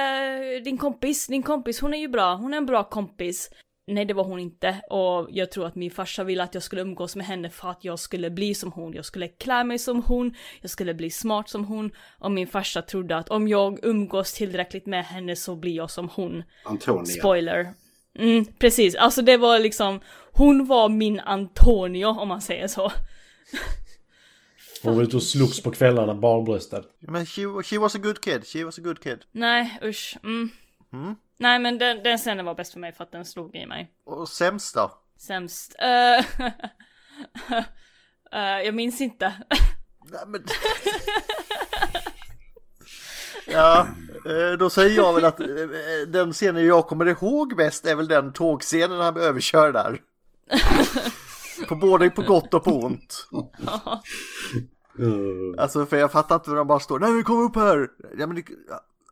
S1: din kompis? Din kompis, hon är ju bra, hon är en bra kompis. Nej det var hon inte och jag tror att min farsa ville att jag skulle umgås med henne för att jag skulle bli som hon. Jag skulle klä mig som hon, jag skulle bli smart som hon och min farsa trodde att om jag umgås tillräckligt med henne så blir jag som hon.
S5: Antonia.
S1: Spoiler. Mm, precis, alltså det var liksom, hon var min Antonio om man säger så.
S4: Hon var ute och slogs på kvällarna barbröstad.
S2: Ja, men she, she was a good kid, she was a good kid.
S1: Nej, usch. Mm. Nej, men den, den scenen var bäst för mig för att den slog i mig.
S2: Och sämst då?
S1: Sämst. Eh, eh, jag minns inte.
S2: Nej, men... Ja, eh, då säger jag väl att eh, den scenen jag kommer ihåg bäst är väl den tågscenen när han blir överkörd där. På både på gott och på ont.
S5: Ugh.
S2: Alltså för jag fattar inte hur de bara står, nej vi kommer upp här! Ja, men, det-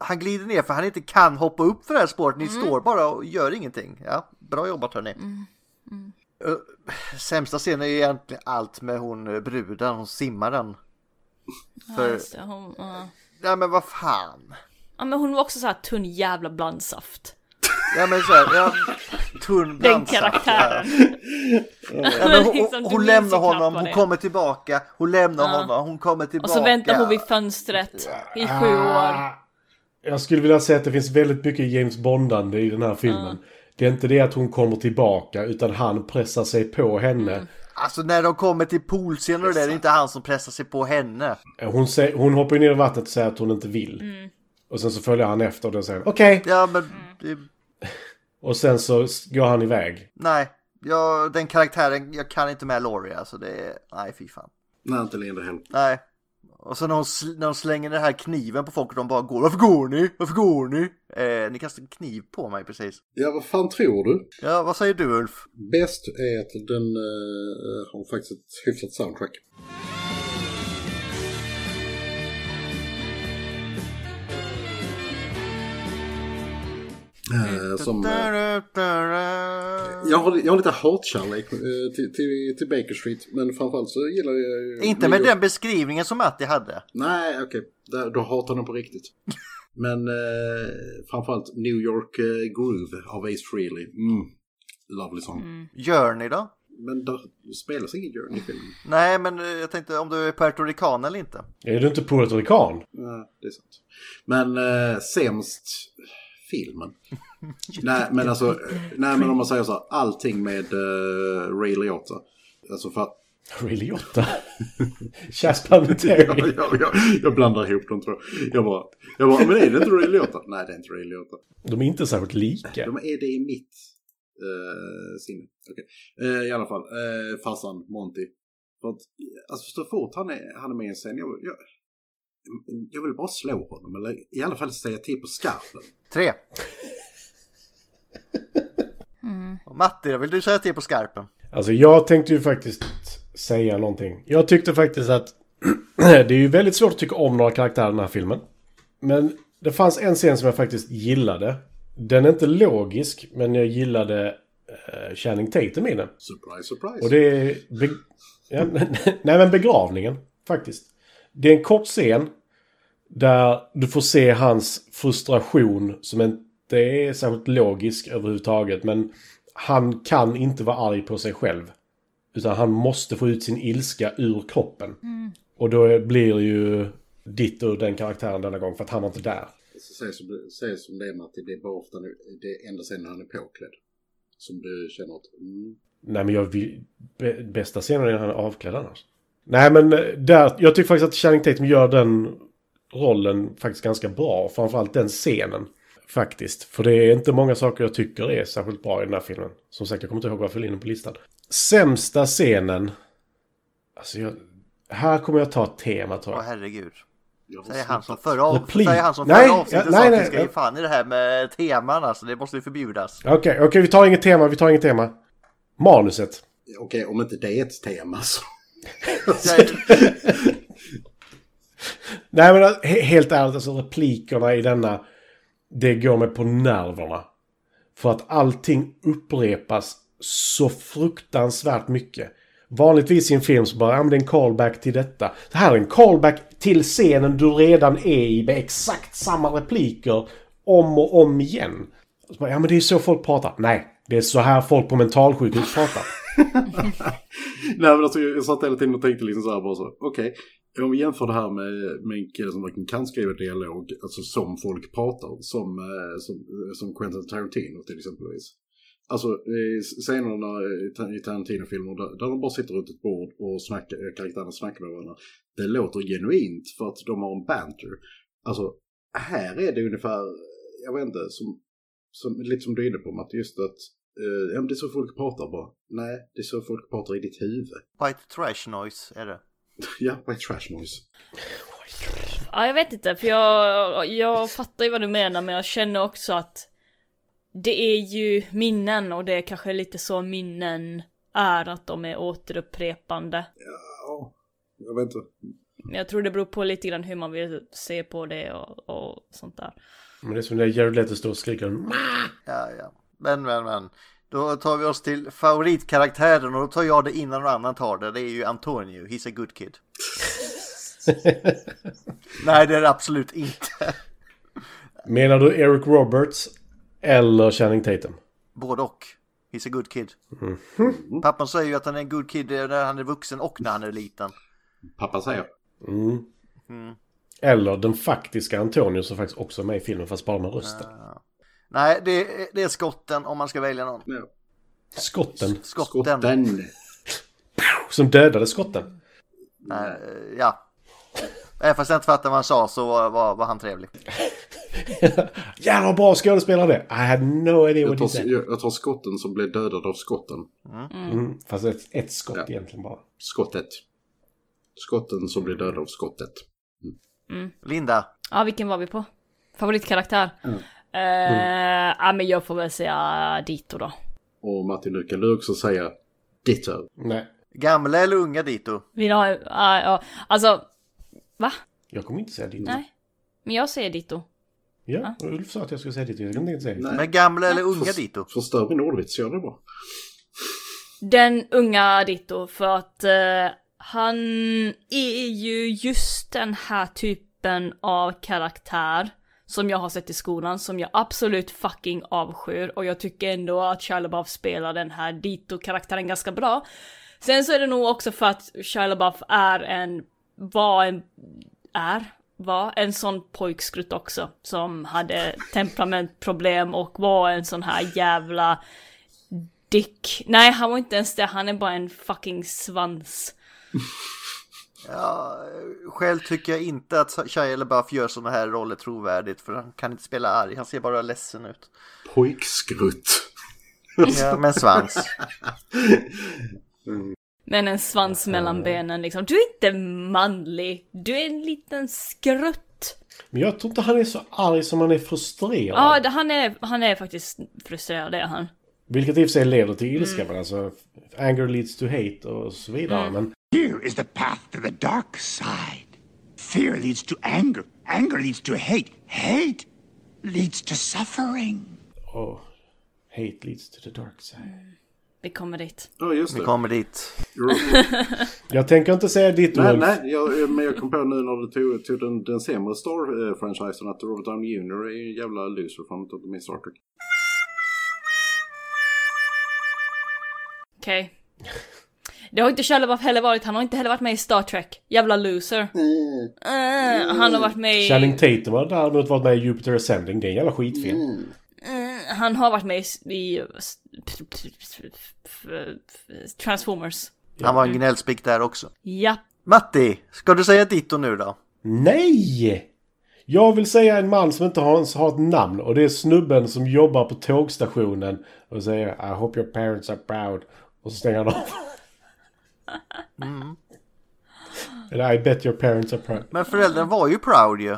S2: han glider ner för han inte kan hoppa upp för det här spåret, ni
S1: Mm.
S2: står bara och gör ingenting. Ja, bra jobbat hörni.
S1: mm.
S2: Ö, Sämsta scenen är ju egentligen allt med hon eh, bruden, hon simmaren.
S1: Ja,
S2: För,
S1: just det, hon, ja.
S2: nej men vad fan.
S1: ja, men hon var också så här tunn jävla blandsaft.
S2: Ja men så här, ja, tunn
S1: Den
S2: blandsaft,
S1: karaktären.
S2: Ja, men hon,
S1: Liksom, du
S2: hon, hon
S1: minns ju
S2: lämnar
S1: knappt
S2: honom,
S1: vad
S2: hon
S1: det är.
S2: kommer tillbaka, hon lämnar honom, hon kommer
S1: Och
S2: tillbaka.
S1: så väntar hon vid fönstret i sju år.
S4: Jag skulle vilja säga att det finns väldigt mycket James Bondande i den här filmen. Det är inte det att hon kommer tillbaka, utan han pressar sig på henne.
S2: Alltså när de kommer till poolscenen och det, där, det är inte han som pressar sig på henne.
S4: Hon, säger, hon hoppar ju ner i vattnet och säger att hon inte vill. Och sen så följer han efter och då säger han okej.
S2: Ja
S1: Mm.
S2: men, det,
S4: Och sen så s- går han iväg.
S2: nej. Jag, den karaktären, jag kan inte med Laurie alltså det är, nej fy fan.
S5: Nej, inte Linda heller.
S2: Nej. Och så när hon, sl- när hon slänger den här kniven på folk och de bara går, varför går ni? Varför går ni? Eh, ni kastade en kniv på mig precis.
S5: Ja, vad fan tror du?
S2: Ja, vad säger du Ulf?
S5: Bäst är att den eh, har faktiskt ett hyfsat soundtrack. Eh, som, eh, jag, har, jag har lite hatkärlek eh, till, till, till Baker Street, men framförallt så gillar jag ju...
S2: Inte med den beskrivningen som Matti hade.
S5: Nej, okej. Där- Då hatar den på riktigt. Men eh, framförallt New York eh, Groove av Ace Frehley. Mm. Lovely song.
S2: Gör ni då?
S5: Men där spelas ingen Journey i filmen.
S2: Nej, men eh, jag tänkte om du är puertorican eller inte.
S4: Är du inte puertorican?
S5: Nej, det är sant. Men eh, sämst filmen. nej, men alltså, eh, nej, men om man säger så här, allting med eh, Ray Liotta. Alltså för att
S4: Really Otta? Jasper Terry.
S5: jag, jag, jag blandar ihop dem tror jag. Jag bara, jag bara, men är det inte Ray Liotta? Nej, det är inte Ray Liotta.
S4: De är inte särskilt lika.
S5: De är det i mitt eh, sinne. Okej. Eh, I alla fall, eh, farsan Monty. För att, alltså så fort han är, han är med i en scen, jag, jag, jag vill bara slå honom. Eller i alla fall säga till på skarpen.
S2: Tre. Och Matti, då vill du säga till på skarpen?
S4: Alltså jag tänkte ju faktiskt säga någonting. Jag tyckte faktiskt att det är ju väldigt svårt att tycka om några karaktärer i den här filmen. Men det fanns en scen som jag faktiskt gillade. Den är inte logisk, men jag gillade eh, Channing Tatum i den.
S5: Surprise, surprise.
S4: Och det är... Be- ja, nej, men begravningen, faktiskt. Det är en kort scen där du får se hans frustration som inte är särskilt logisk överhuvudtaget. Men han kan inte vara arg på sig själv. Utan han måste få ut sin ilska ur kroppen. Och då blir ju ditt och den karaktären denna gång för att han var inte där.
S5: Säg som, säg som det är Matti, det är bara ofta nu, det är enda sen när han är påklädd. Som du känner att, mm,
S4: Nej men jag vill... bä- Bästa scenen är när han är avklädd annars. Nej men eh, där, jag tycker faktiskt att Channing Tatum gör den rollen faktiskt ganska bra. Framförallt den scenen. Faktiskt. För det är inte många saker jag tycker är särskilt bra i den här filmen. Som sagt, jag kommer inte ihåg vad jag fyllde in den på listan. Sämsta scenen. Alltså jag... Här kommer jag ta ett tema tror
S2: Åh
S4: jag.
S2: herregud.
S5: jag har
S2: Säger han som
S5: slutat.
S2: förra, av,
S4: Replik.
S2: säger han som
S4: Nej,
S2: förra avsnittet
S4: ja,
S2: sa
S4: nej,
S2: att vi
S4: nej,
S2: ska
S4: ja.
S2: ge fan i det här med teman alltså. Det måste ju förbjudas.
S4: Okej, okej vi tar inget tema, vi tar inget tema. Manuset.
S5: Okej, om inte det är ett tema så.
S2: Jag-
S4: Nej men eh, he- helt ärligt, alltså replikerna i denna, det går mig på nerverna. För att allting upprepas så fruktansvärt mycket. Vanligtvis i en film så bara, ja men det är en callback till detta. Det här är en callback till scenen du redan är i med exakt samma repliker om och om igen. Och Så bara, ja men det är ju så folk pratar. Nej, det är så här folk på mentalsjukhus pratar.
S5: Nej men alltså jag satt hela tiden och tänkte liksom så här bara så, okej. Om vi jämför det här med, med en kille som verkligen kan skriva dialog, alltså som folk pratar, som, eh, som, som Quentin Tarantino till exempelvis. Alltså eh, scener när, eh, Ta- i Tarantino-filmer där, där de bara sitter runt ett bord och snackar, eh, karaktärerna snackar med varandra. Det låter genuint för att de har en banter. Alltså här är det ungefär, jag vet inte, som, som, lite som du är inne på Matt, just att eh, ja, men det är så folk pratar bara. Nej, det är så folk pratar i ditt huvud.
S2: White trash noise är det.
S5: Ja, white trash noise.
S1: Ja, jag vet inte, för jag, jag fattar ju vad du menar, men jag känner också att det är ju minnen och det är kanske lite så minnen är, att de är återupprepande.
S5: Ja, jag vet inte.
S1: Men jag tror det beror på lite grann hur man vill se på det och, och sånt där.
S4: Men det är som när Jared Leto står och skriker "Ma!"
S2: Ja, ja. Men, men, men. Då tar vi oss till favoritkaraktären och då tar jag det innan någon annan tar det. Det är ju Antonio. He's a good kid. Nej, det är det absolut inte.
S4: Menar du Eric Roberts eller Channing Tatum?
S2: Både och. He's a good kid. Pappan säger ju att han är en good kid när han är vuxen och när han är liten.
S5: Pappa säger.
S4: Mm. Eller den faktiska Antonio som faktiskt också är med i filmen fast bara med rösten.
S2: Nej, det är, det är skotten om man ska välja någon.
S5: Ja.
S4: Skotten.
S2: Skotten.
S5: Skotten.
S4: Som dödade skotten.
S2: Nej, eh, ja. Även fast jag inte fattade vad han sa så var, var, var han trevlig.
S4: Jävlar vad bra skådespelare det är. I had no idea
S5: Jag
S4: what he
S5: tar,
S4: said.
S5: jag, jag tar skotten som blev dödad av skotten.
S4: Mm, fast ett, ett skott
S5: Ja.
S4: egentligen bara.
S5: Skottet. Skotten som blev dödad av skottet.
S2: Linda,
S1: Ja, vilken var vi på? Favoritkaraktär? Mm. Ja, men jag får väl säga Dito då.
S5: Och Martin, du kan du också säga ditto.
S4: Nej.
S2: gamla eller unga Dito?
S1: Vill ha, ja, ja, alltså, va?
S4: Jag kommer inte säga ditt.
S1: Nej. Men jag säger Dito.
S4: Ja, Ulf sa att jag skulle säga ditt. Jag kunde inte säga ditt.
S5: Nej.
S2: Men gamla eller unga Dito?
S5: Förstör min ordvits, gör det bra.
S1: Den unga Ditto för att eh, han är ju just den här typen av karaktär som jag har sett i skolan som jag absolut fucking avskyr och jag tycker ändå att Shia LaBeouf spelar den här Ditto-karaktären ganska bra. Sen så är det nog också för att Shia LaBeouf är en, var en, är, var en sån pojkskrutt också som hade temperamentproblem och var en sån här jävla dick. Nej, han var inte ens det. Han är bara en fucking svans.
S2: Ja, själv tycker jag inte att Shia LaBeouf gör sådana här roller trovärdigt för han kan inte spela arg, han ser bara ledsen ut.
S5: Pojkskrutt.
S2: Ja, men svans.
S1: Men en svans mellan benen liksom. Du är inte manlig. Du är en liten skrutt.
S4: Men jag tror inte han är så arg som han är frustrerad.
S1: Ja, det- han, är, han är faktiskt frustrerad, det är han.
S4: Vilket i och för sig leder till ilska, men alltså anger leads to hate och så vidare. Men
S10: Here is the path to the dark side. Fear leads to anger. Anger leads to hate. Hate leads to suffering.
S4: oh, hate leads to the dark side.
S1: Vi kommer dit.
S5: Ja, just
S2: Vi
S5: det.
S2: kommer dit.
S4: Jag tänker inte säga ditt
S5: Nej,
S4: Ulf.
S5: nej, jag, eh, men jag kom på nu när du tog, tog den, den sämre Star-franchisen att Robert Downey Jr är en jävla loser för att han inte är med i Star Trek.
S1: Okej. Det har inte Shelley heller varit. Han har inte heller varit med i Star Trek. Jävla loser. Eh, han har varit med i...
S4: Channing Tatum har däremot varit med i Jupiter Ascending. Det är en jävla skitfilm.
S1: eh, Han har varit med i... i Transformers.
S2: Han var en gnällspik där också.
S1: Ja.
S2: Matti, ska du säga ditto nu då?
S4: Nej! Jag vill säga en man som inte har ens har ett namn och det är snubben som jobbar på tågstationen och säger I hope your parents are proud och så stänger han av. Eller I bet your parents are proud.
S2: Men föräldern var ju proud ju.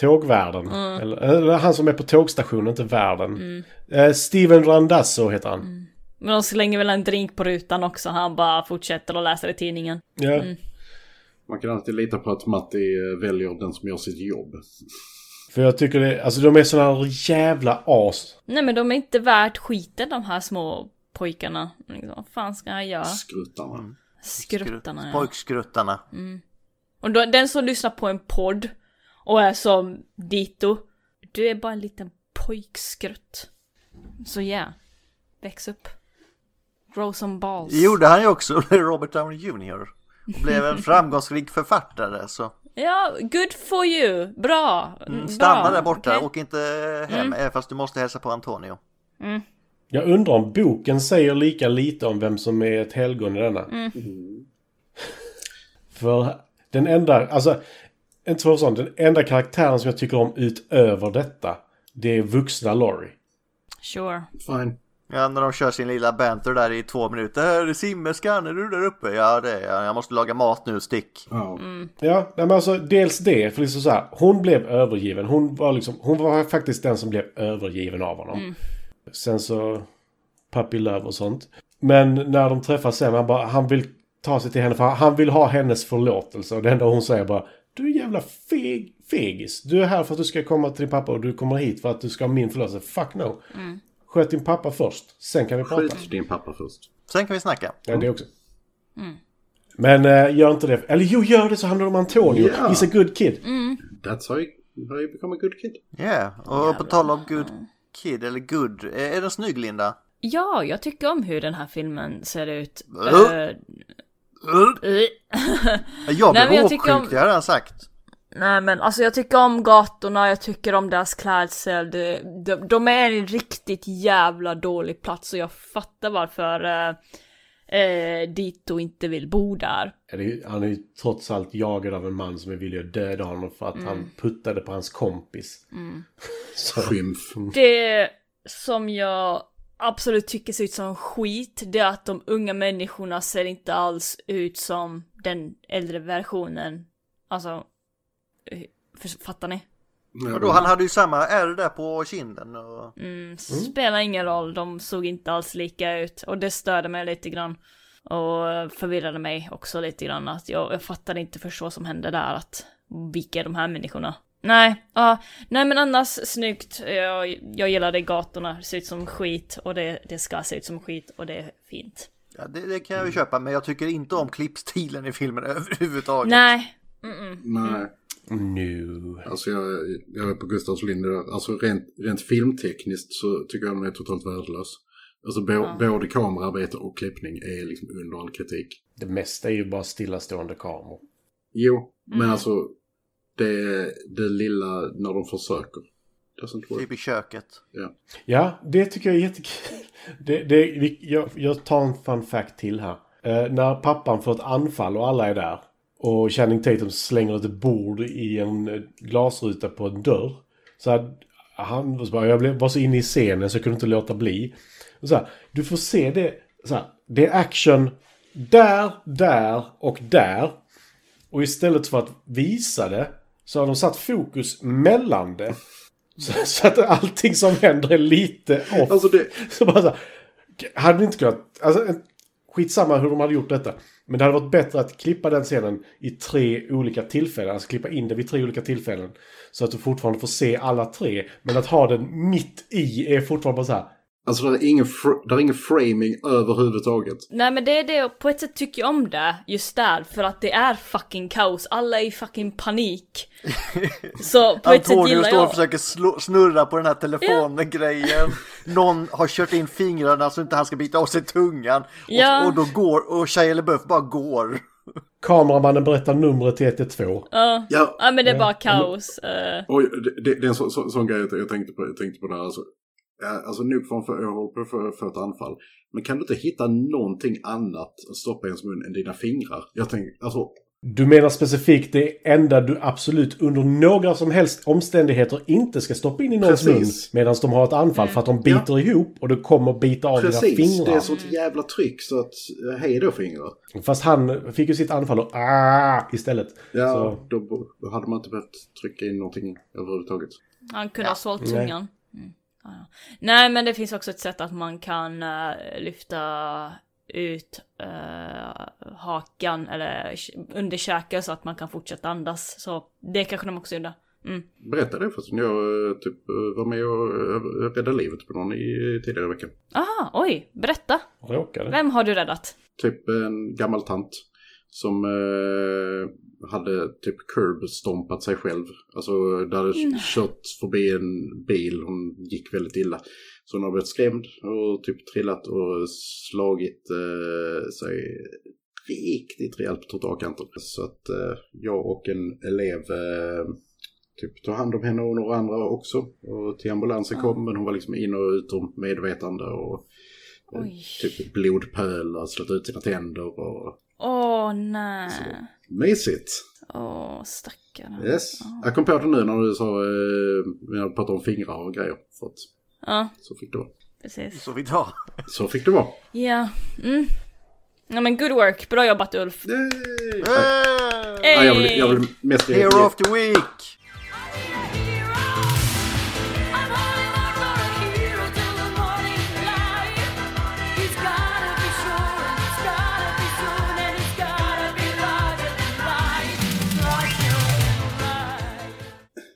S4: Tågvärden. Eller, eller han som är på tågstationen, inte värden. Eh, Steven Randasso heter han.
S1: Men de slänger väl en drink på rutan också. Han bara fortsätter att läsa i tidningen.
S4: Ja.
S5: Man kan alltid lita på att Matti eh, väljer den som gör sitt jobb.
S4: För jag tycker det, alltså de är såna jävla as.
S1: Nej men de är inte värt skiten de här små pojkarna. Liksom, vad fan ska jag göra?
S5: Skruttarna.
S1: Skruttarna ja. Mm.
S2: Pojkskruttarna.
S1: Och då, den som lyssnar på en podd och är som Dito. Du är bara en liten pojkskrutt. Så ja. Väx upp. Grow some balls.
S2: Det gjorde han ju också, Robert Downey Jr. Och blev en framgångsrik författare. Så
S1: Ja, good for you. Bra. Mm. Bra.
S2: Mm, stanna där borta,
S1: Okej. Mm.
S2: åk inte hem, även fast du måste hälsa på Antonio.
S4: Jag undrar om boken säger lika lite om vem som är ett helgon i denna. För den enda, alltså, inte för sånt, den enda karaktären som jag tycker om utöver detta, det är vuxna Laurie.
S1: Sure.
S5: Fine.
S2: Ja, när de kör sin lilla banter där i två minuter. Simmerskan, är du där uppe? Ja, det är jag. Jag måste laga mat nu, stick.
S5: Ja.
S4: Ja, nej, men alltså dels det, för liksom så här, hon blev övergiven. Hon var liksom, hon var faktiskt den som blev övergiven av honom. Sen så, puppy love och sånt. Men när de träffas sen, han bara, han vill ta sig till henne för han vill ha hennes förlåtelse. Och det enda hon säger bara, du är jävla feg, fegis. Du är här för att du ska komma till din pappa och du kommer hit för att du ska ha min förlåtelse. Fuck no. Sköt din pappa först, sen kan vi prata.
S5: Skjut din pappa först.
S2: Sen kan vi snacka.
S4: Ja, det också. Men eh, gör inte det. Eller jo, gör det så handlar det om Antonio.
S5: Ja.
S4: He's a good kid.
S5: That's how you, how you become a good kid.
S2: Ja, och på tal om good kid, eller good. Är är den snygg, Linda?
S1: Ja, jag tycker om hur den här filmen ser ut.
S2: Äh.
S1: Eh,
S2: Jag
S1: Mm. Nej, men
S2: blev
S1: jag
S2: åksjuk,
S1: tycker om-
S2: det har jag sagt.
S1: Nej men alltså jag tycker om gatorna, jag tycker om deras klädsel. De, de, de är en riktigt jävla dålig plats och jag fattar varför eh, eh, Dito inte vill bo där.
S4: Ja, det är, ju- han är ju trots allt jagad av en man som är villig att döda honom för att han puttade på hans kompis. Så,
S5: Skymf.
S1: Det som jag absolut tycker ser ut som skit, det är att de unga människorna ser inte alls ut som den äldre versionen. Alltså, eh, för- fattar ni?
S2: Och då, han hade ju samma ärr där på kinden. Och... Mm.
S1: Spelar ingen roll, de såg inte alls lika ut och det störde mig lite grann. Och förvirrade mig också lite grann att jag, jag fattade inte först vad som hände där att vilka är de här människorna? Nej, ja, nej men annars snyggt. Jag, jag gillade gatorna, det ser ut som skit och det, det ska se ut som skit och det är fint.
S2: Ja, det, det kan jag
S1: Mm.
S2: ju köpa, men jag tycker inte om klippstilen i filmen överhuvudtaget.
S1: Nej,
S5: Nej.
S4: nu.
S5: Alltså jag, jag är på Gustavs linje där. Alltså rent, rent filmtekniskt så tycker jag den är totalt värdelös. Alltså bo, både kamerarbete och klippning är liksom under all kritik.
S4: Det mesta är ju bara stillastående kameror.
S5: Jo, men alltså det, det lilla när de försöker. Doesn't work.
S2: Typ i köket.
S5: Ja.
S4: Ja, det tycker jag är jättekul. Det, det, vi- jag, jag tar en fun fact till här. Eh, när pappan får ett anfall och alla är där och Channing Tatum slänger ett bord i en eh, glasruta på en dörr. Så här, han var så bara, jag blev, var så inne i scenen så jag kunde inte låta bli. Och så här, du får se det, så här, det är action där, där och där. Och istället för att visa det så har de satt fokus mellan det. Så, så att allting som händer är lite off.
S5: Alltså det,
S4: Så bara så här, hade ni inte kunnat, alltså en- skitsamma hur de hade gjort detta. Men det hade varit bättre att klippa den scenen i tre olika tillfällen, alltså klippa in det vid tre olika tillfällen. Så att du fortfarande får se alla tre, men att ha den mitt i är fortfarande bara så här.
S5: alltså det är ingen, fr- det är ingen framing överhuvudtaget.
S1: Nej men det är det, och på ett sätt tycker jag om det just där för att det är fucking kaos, alla är i fucking panik. Så på ett sätt
S2: Antonio
S1: gillar
S2: står och
S1: jag.
S2: försöker slå, snurra på den här telefongrejen. Någon har kört in fingrarna så inte han ska bita av sig tungan.
S1: Ja.
S2: Och, och då går, och Shia LaBeouf bara går.
S4: Kameramannen berättar numret till 112.
S5: Ja,
S1: Ja men det är bara kaos. eh.
S5: Oj, det, det, det är en så, så, sån grej jag, jag tänkte på, jag tänkte på där. Alltså, Ja, alltså nog för, för, jag håller på för, för ett anfall. Men kan du inte hitta någonting annat att stoppa i ens mun än dina fingrar? Jag tänker, alltså,
S4: Du menar specifikt det enda du absolut under några som helst omständigheter inte ska stoppa in i någons mun
S5: Precis.
S4: medan de har ett anfall för att de biter ihop och du kommer bita av
S5: precis,
S4: dina fingrar.
S5: det är sånt jävla tryck så att eh, hej då fingrar.
S4: Fast han fick ju sitt anfall och ah, istället.
S5: Ja,
S4: Så,
S5: då, bo- då hade man inte behövt trycka in någonting överhuvudtaget.
S1: Han kunde ha sålt
S4: Nej.
S1: tungan. Mm. Ja, ja. Nej men det finns också ett sätt att man kan eh, lyfta ut eh, hakan eller k- underkäken så att man kan fortsätta andas. Så det kanske de också gjorde. Mm.
S5: Berätta det förresten, jag eh, typ, eh, var med och eh, räddade livet på någon i, i tidigare veckan.
S1: Aha, oj, berätta.
S4: råkade.
S1: Vem har du räddat?
S5: typ en gammal tant som eh, hade typ curb-stompat sig själv. Alltså det hade kört förbi en bil, hon gick väldigt illa. Så hon har blivit skrämd och typ trillat och slagit eh, sig riktigt rejält på trottoarkanten. Så att eh, jag och en elev eh, typ tog hand om henne och några andra också. Och till ambulansen kom, men hon var liksom in och utom medvetande och eh,
S1: Oj.
S5: typ blodpölar, slått ut sina tänder och
S1: Åh nej.
S5: mysigt.
S1: Åh stackarna.
S5: Yes. Jag kom på det nu när du sa, eh, när jag pratade om fingrar och grejer. Så, att,
S1: Ja,
S5: så fick det vara.
S1: precis.
S2: Så vi drar.
S5: Så fick det vara.
S1: Ja. Mm. Ja men good work, bra jobbat Ulf.
S5: Yay!
S2: Hey!
S5: Ja, jag, vill, jag vill mest ge,
S2: Hero of the Week!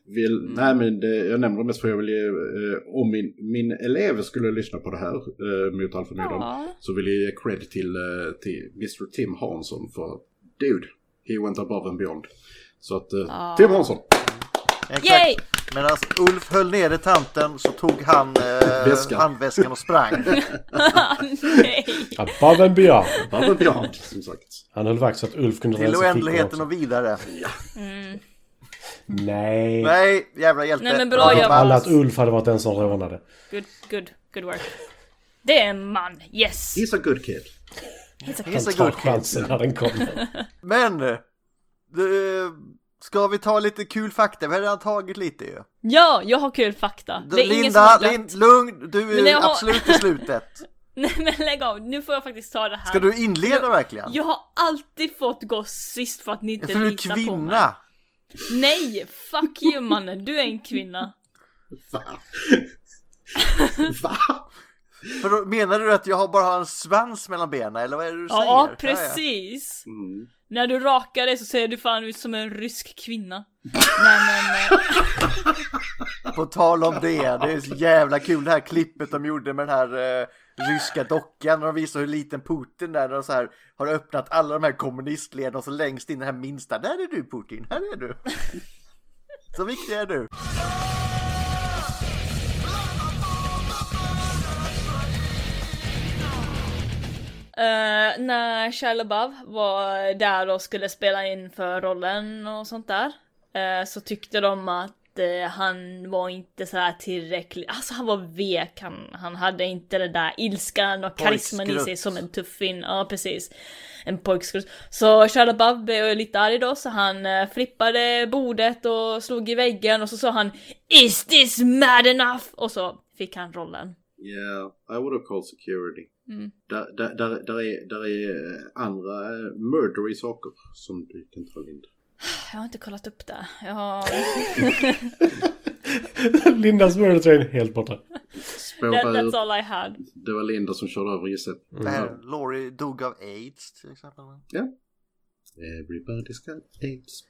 S5: vill, nej men det, jag nämner det mest för jag vill ge, eh, om min, min elev skulle lyssna på det här eh, mot all förmodan.
S1: Ja.
S5: Så vill jag ge cred till, eh, till Mr Tim Hansson för dude, he went above and beyond. Så att eh, Tim Hansson,
S2: Exakt.
S1: Yay!
S2: Medan Ulf höll nere tanten så tog han eh,
S5: Väskan.
S2: handväskan och sprang.
S1: Ah, Nej.
S4: Above and beyond.
S5: above and beyond som sagt.
S4: Han höll vakt så att Ulf kunde
S2: Till
S4: rensa fickorna
S2: oändligheten
S4: också.
S2: och vidare.
S4: Nej. Nej.
S2: Nej, jävla hjälte.
S1: Nej, men bra
S4: Jag
S1: jobbat.
S4: alla att Ulf hade varit den som rånade.
S1: Good, good, good work. Det är en man, yes!
S5: He's a good kid.
S2: He's a
S4: Han tar
S2: good kid.
S4: chansen när den kommer.
S2: Men! eh, ska vi ta lite kul fakta? Vi har redan tagit lite ju.
S1: Ja, jag har kul fakta. Det är ingen som
S2: Linda,
S1: har
S2: Lin,
S1: glömt.
S2: lugn! Du
S1: Men
S2: är
S1: jag har-
S2: absolut i slutet.
S1: Nej men lägg av, nu får jag faktiskt ta det här.
S2: Ska du inleda verkligen?
S1: Jag har alltid fått gå sist för att ni inte
S2: För du är
S1: litar på mig.
S2: kvinna!
S1: Nej, fuck you mannen, du är en kvinna.
S5: Va? Va?
S2: För då, menar du att jag har- bara har en svans mellan benen eller vad är det du säger?
S1: Ja,
S2: Ja,
S1: precis. När du rakar dig så ser du fan ut som en rysk kvinna. Nej men... eh,
S2: ja. På tal om det, det är så jävla kul det här klippet de gjorde med den här eh, ryska dockan och de visar hur liten Putin där och så här har öppnat alla de här kommunistleden och så längst in den här minsta, där är du Putin, här är du. Så viktig är du.
S1: eh, när Shia LaBeouf var där och skulle spela in för rollen och sånt där. eh, så tyckte de att eh, han var inte så här tillräckligt, alltså han var vek, han, han hade inte den där ilskan och karisman i sig
S2: Pojkskrutt.
S1: som en tuffin, ja precis. En pojkskrutt. Så Shia LaBeouf blev lite arg då så han eh, flippade bordet och slog i väggen och så sa han Is this mad enough? Och så fick han rollen.
S5: Yeah, I would have called security.
S1: Mm.
S5: Där, där, där, där, är, där är andra eh, murdery saker som du kan ta in.
S1: Jag har inte kollat upp det. Jag har...
S4: Lindas Murder Train, helt borta.
S1: That,
S5: Spåra ut.
S1: that's all I had.
S5: Det var Linda som körde över Gisset.
S2: Det här, Laurie dog av aids till exempel.
S5: Everybody's got AIDS.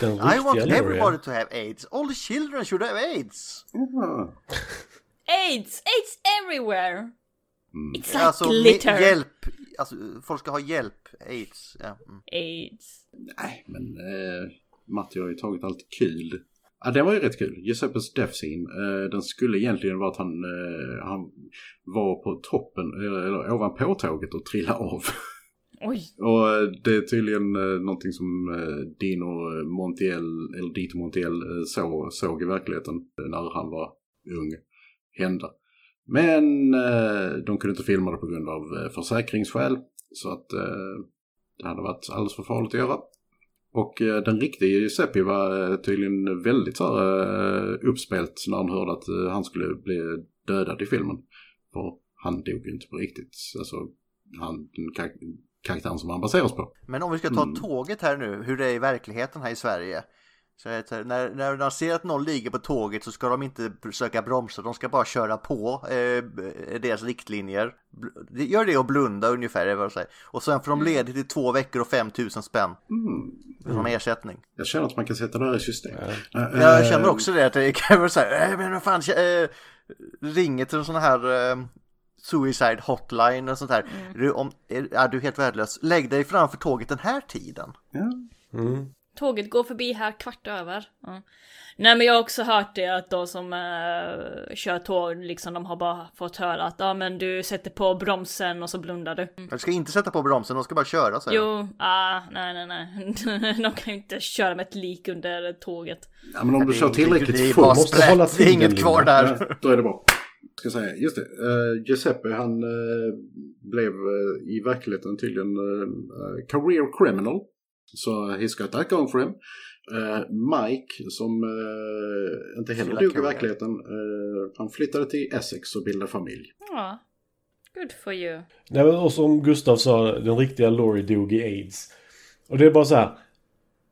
S4: Den
S2: I want
S4: riktiga Laurie.
S2: everybody to have aids. All the children should have aids.
S5: Ja.
S1: AIDS! AIDS everywhere! It's like
S2: Alltså, med
S1: glitter.
S2: hjälp. Alltså, folk ska ha hjälp. Aids. Ja. Mm.
S1: AIDS.
S5: Nej, men eh, Matti har ju tagit allt kul. Ja, den var ju rätt kul. Giuseppes death scene. Eh, den skulle egentligen vara att han, eh, han var på toppen, eh, eller ovanpå tåget och trillade av.
S1: Oj.
S5: Och eh, det är tydligen eh, någonting som eh, Dino Montiel, eller Dito Montiel, eh, så, såg i verkligheten eh, när han var ung hända. Men eh, de kunde inte filma det på grund av eh, försäkringsskäl. Så att eh, det hade varit alldeles för farligt att göra. Och eh, den riktiga Giuseppe var eh, tydligen väldigt så här, eh, uppspelt när han hörde att eh, han skulle bli dödad i filmen. För han dog ju inte på riktigt. Alltså, han, den kar- karaktären som han baseras på.
S2: Men om vi ska ta
S5: Mm.
S2: tåget här nu, hur det är i verkligheten här i Sverige. Så att, eh, när, när de ser att någon ligger på tåget så ska de inte försöka bromsa, de ska bara köra på eh, b- deras riktlinjer. Bl- Gör det och blunda ungefär, är vad jag säger. Och sen får de ledigt i två veckor och 5000 spänn
S5: Mm.
S2: som ersättning.
S5: Jag känner att man kan sätta det här i system. Eh,
S2: Jag
S5: eh,
S2: känner också det att det kan vara så här, "Äh, men vad fan, äh, ringer till en sån här eh, suicide hotline och sånt här.
S1: Mm.
S2: Du, om, är, är du är helt värdelös, lägg dig framför tåget den här tiden.
S5: Ja.
S4: Mm.
S1: Tåget går förbi här kvart över. Ja. Nej men jag har också hört det att de som eh, kör tåg liksom de har bara fått höra att ja men du sätter på bromsen och så blundar du. Mm.
S2: Du ska inte sätta på bromsen, de ska bara köra så här.
S1: Jo, ah, nej nej nej. de kan ju inte köra med ett lik under tåget.
S5: Ja, men om du
S2: Det är
S5: kör
S2: inget- det är
S5: tillräckligt
S2: bara
S5: fort.
S4: måste
S2: sprätt,
S4: hålla
S2: Det är
S4: tiden,
S2: inget kvar
S4: Linda.
S2: där.
S5: Ja, då är det bra. Ska säga. Just det, eh, Giuseppe han eh, blev eh, i verkligheten tydligen eh, eh, career criminal. Så he's got that going for him. Eh, Mike som eh, inte heller
S2: Hela
S5: dog i
S2: karriär.
S5: verkligheten. Eh, han flyttade till Essex och bildade familj.
S1: Ja. Good for you.
S4: Nej, men och som Gustav sa, den riktiga Laurie dog i aids. Och det är bara så här.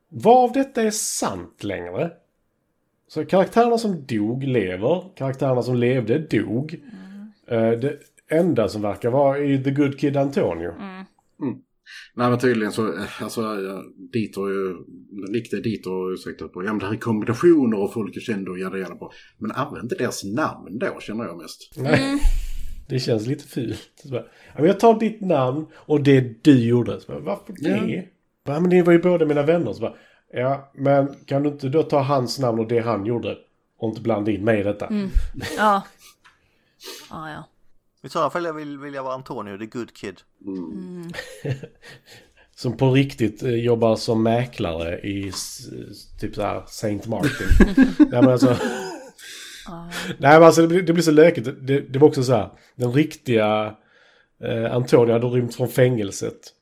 S4: Vad av detta är sant längre? Så karaktärerna som dog lever, karaktärerna som levde dog. Eh, Det enda som verkar vara är The Good Kid Antonio.
S5: Nej men tydligen så, eh, alltså eh, Dieter, har ju- den riktiga Dieter har ju sagt att på, ja men det här är kombinationer och folk är kända och jada jada på. Men använd inte deras namn då känner jag mest.
S4: Nej. Det känns lite fult. Så bara, "Ja, men Jag tar ditt namn och det du gjorde. Så bara, Varför det?
S5: Ja.
S4: Ja, men ni var ju båda mina vänner. Så bara, ja, men kan du inte då ta hans namn och det han gjorde? Och inte blanda in mig i detta.
S1: Ja. Ah, ja.
S2: I sådana fall vill, vill jag vara Antonio, the good kid.
S4: Som på riktigt eh, jobbar som mäklare i s- s- typ så här Saint Martin. Nej men alltså. Nej men alltså det blir, det blir så lökigt. Det, det var också så här. Den riktiga eh, Antonio hade rymt från fängelset.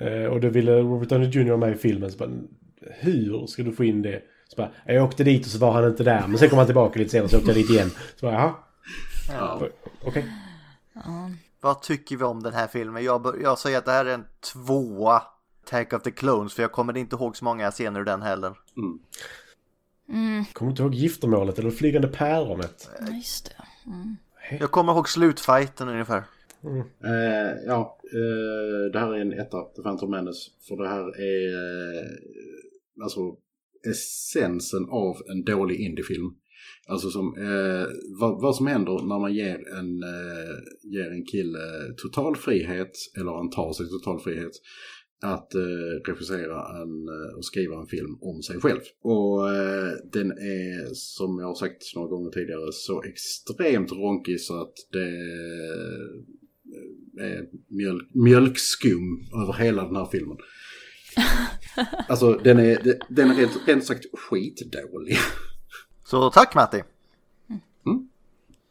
S4: Eh, och då ville Robert Downey Jr. med i filmen. Så bara, hur ska du få in det? Så bara, jag åkte dit och så var han inte där. Men sen kom han tillbaka lite senare så åkte jag dit igen. Så bara, jaha.
S5: Ja.
S4: Okej.
S2: Vad tycker vi om den här filmen? Jag, bör- jag säger att det här är en tvåa. Attack of the Clones, för jag kommer inte ihåg så många scener ur den heller.
S4: Kommer du inte ihåg giftermålet eller flygande päronet?
S1: Ja, Just det.
S2: Jag kommer ihåg slutfighten ungefär.
S5: Eh, ja, eh, det här är en etta, The Phantom Menace. För det här är eh, alltså essensen av en dålig indiefilm. Alltså som, eh, vad, vad som händer när man ger en, eh, ger en kille total frihet, eller han tar sig total frihet, att eh, regissera en, eh, och skriva en film om sig själv. Och eh, den är, som jag har sagt några gånger tidigare, så extremt ronkig så att det eh, mjölk, mjölkskum över hela den här filmen. Alltså den är, den är rent, rent sagt skitdålig.
S2: Så tack Matti!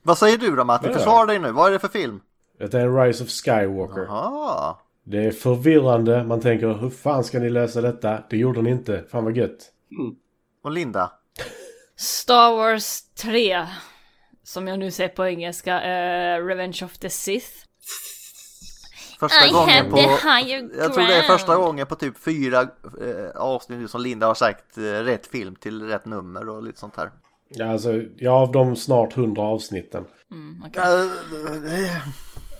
S2: Vad säger du då Matti?
S4: Ja.
S2: Försvara dig nu, vad är det för film?
S4: Det är en Rise of Skywalker.
S2: Ah,
S4: Det är förvirrande. Man tänker hur fan ska ni lösa detta? Det gjorde ni inte. Fan vad gött.
S2: och Linda?
S1: Star Wars 3. Som jag nu säger på engelska. eh, Revenge of the Sith.
S2: Första
S1: I
S2: gången
S1: have
S2: på...
S1: the higher
S2: Jag tror det är första
S1: ground.
S2: gången på typ fyra eh, avsnitt nu som Linda har sagt eh, rätt film till rätt nummer och lite sånt här.
S4: Ja, alltså, ja, av de snart 100 avsnitten.
S1: Mm, okej.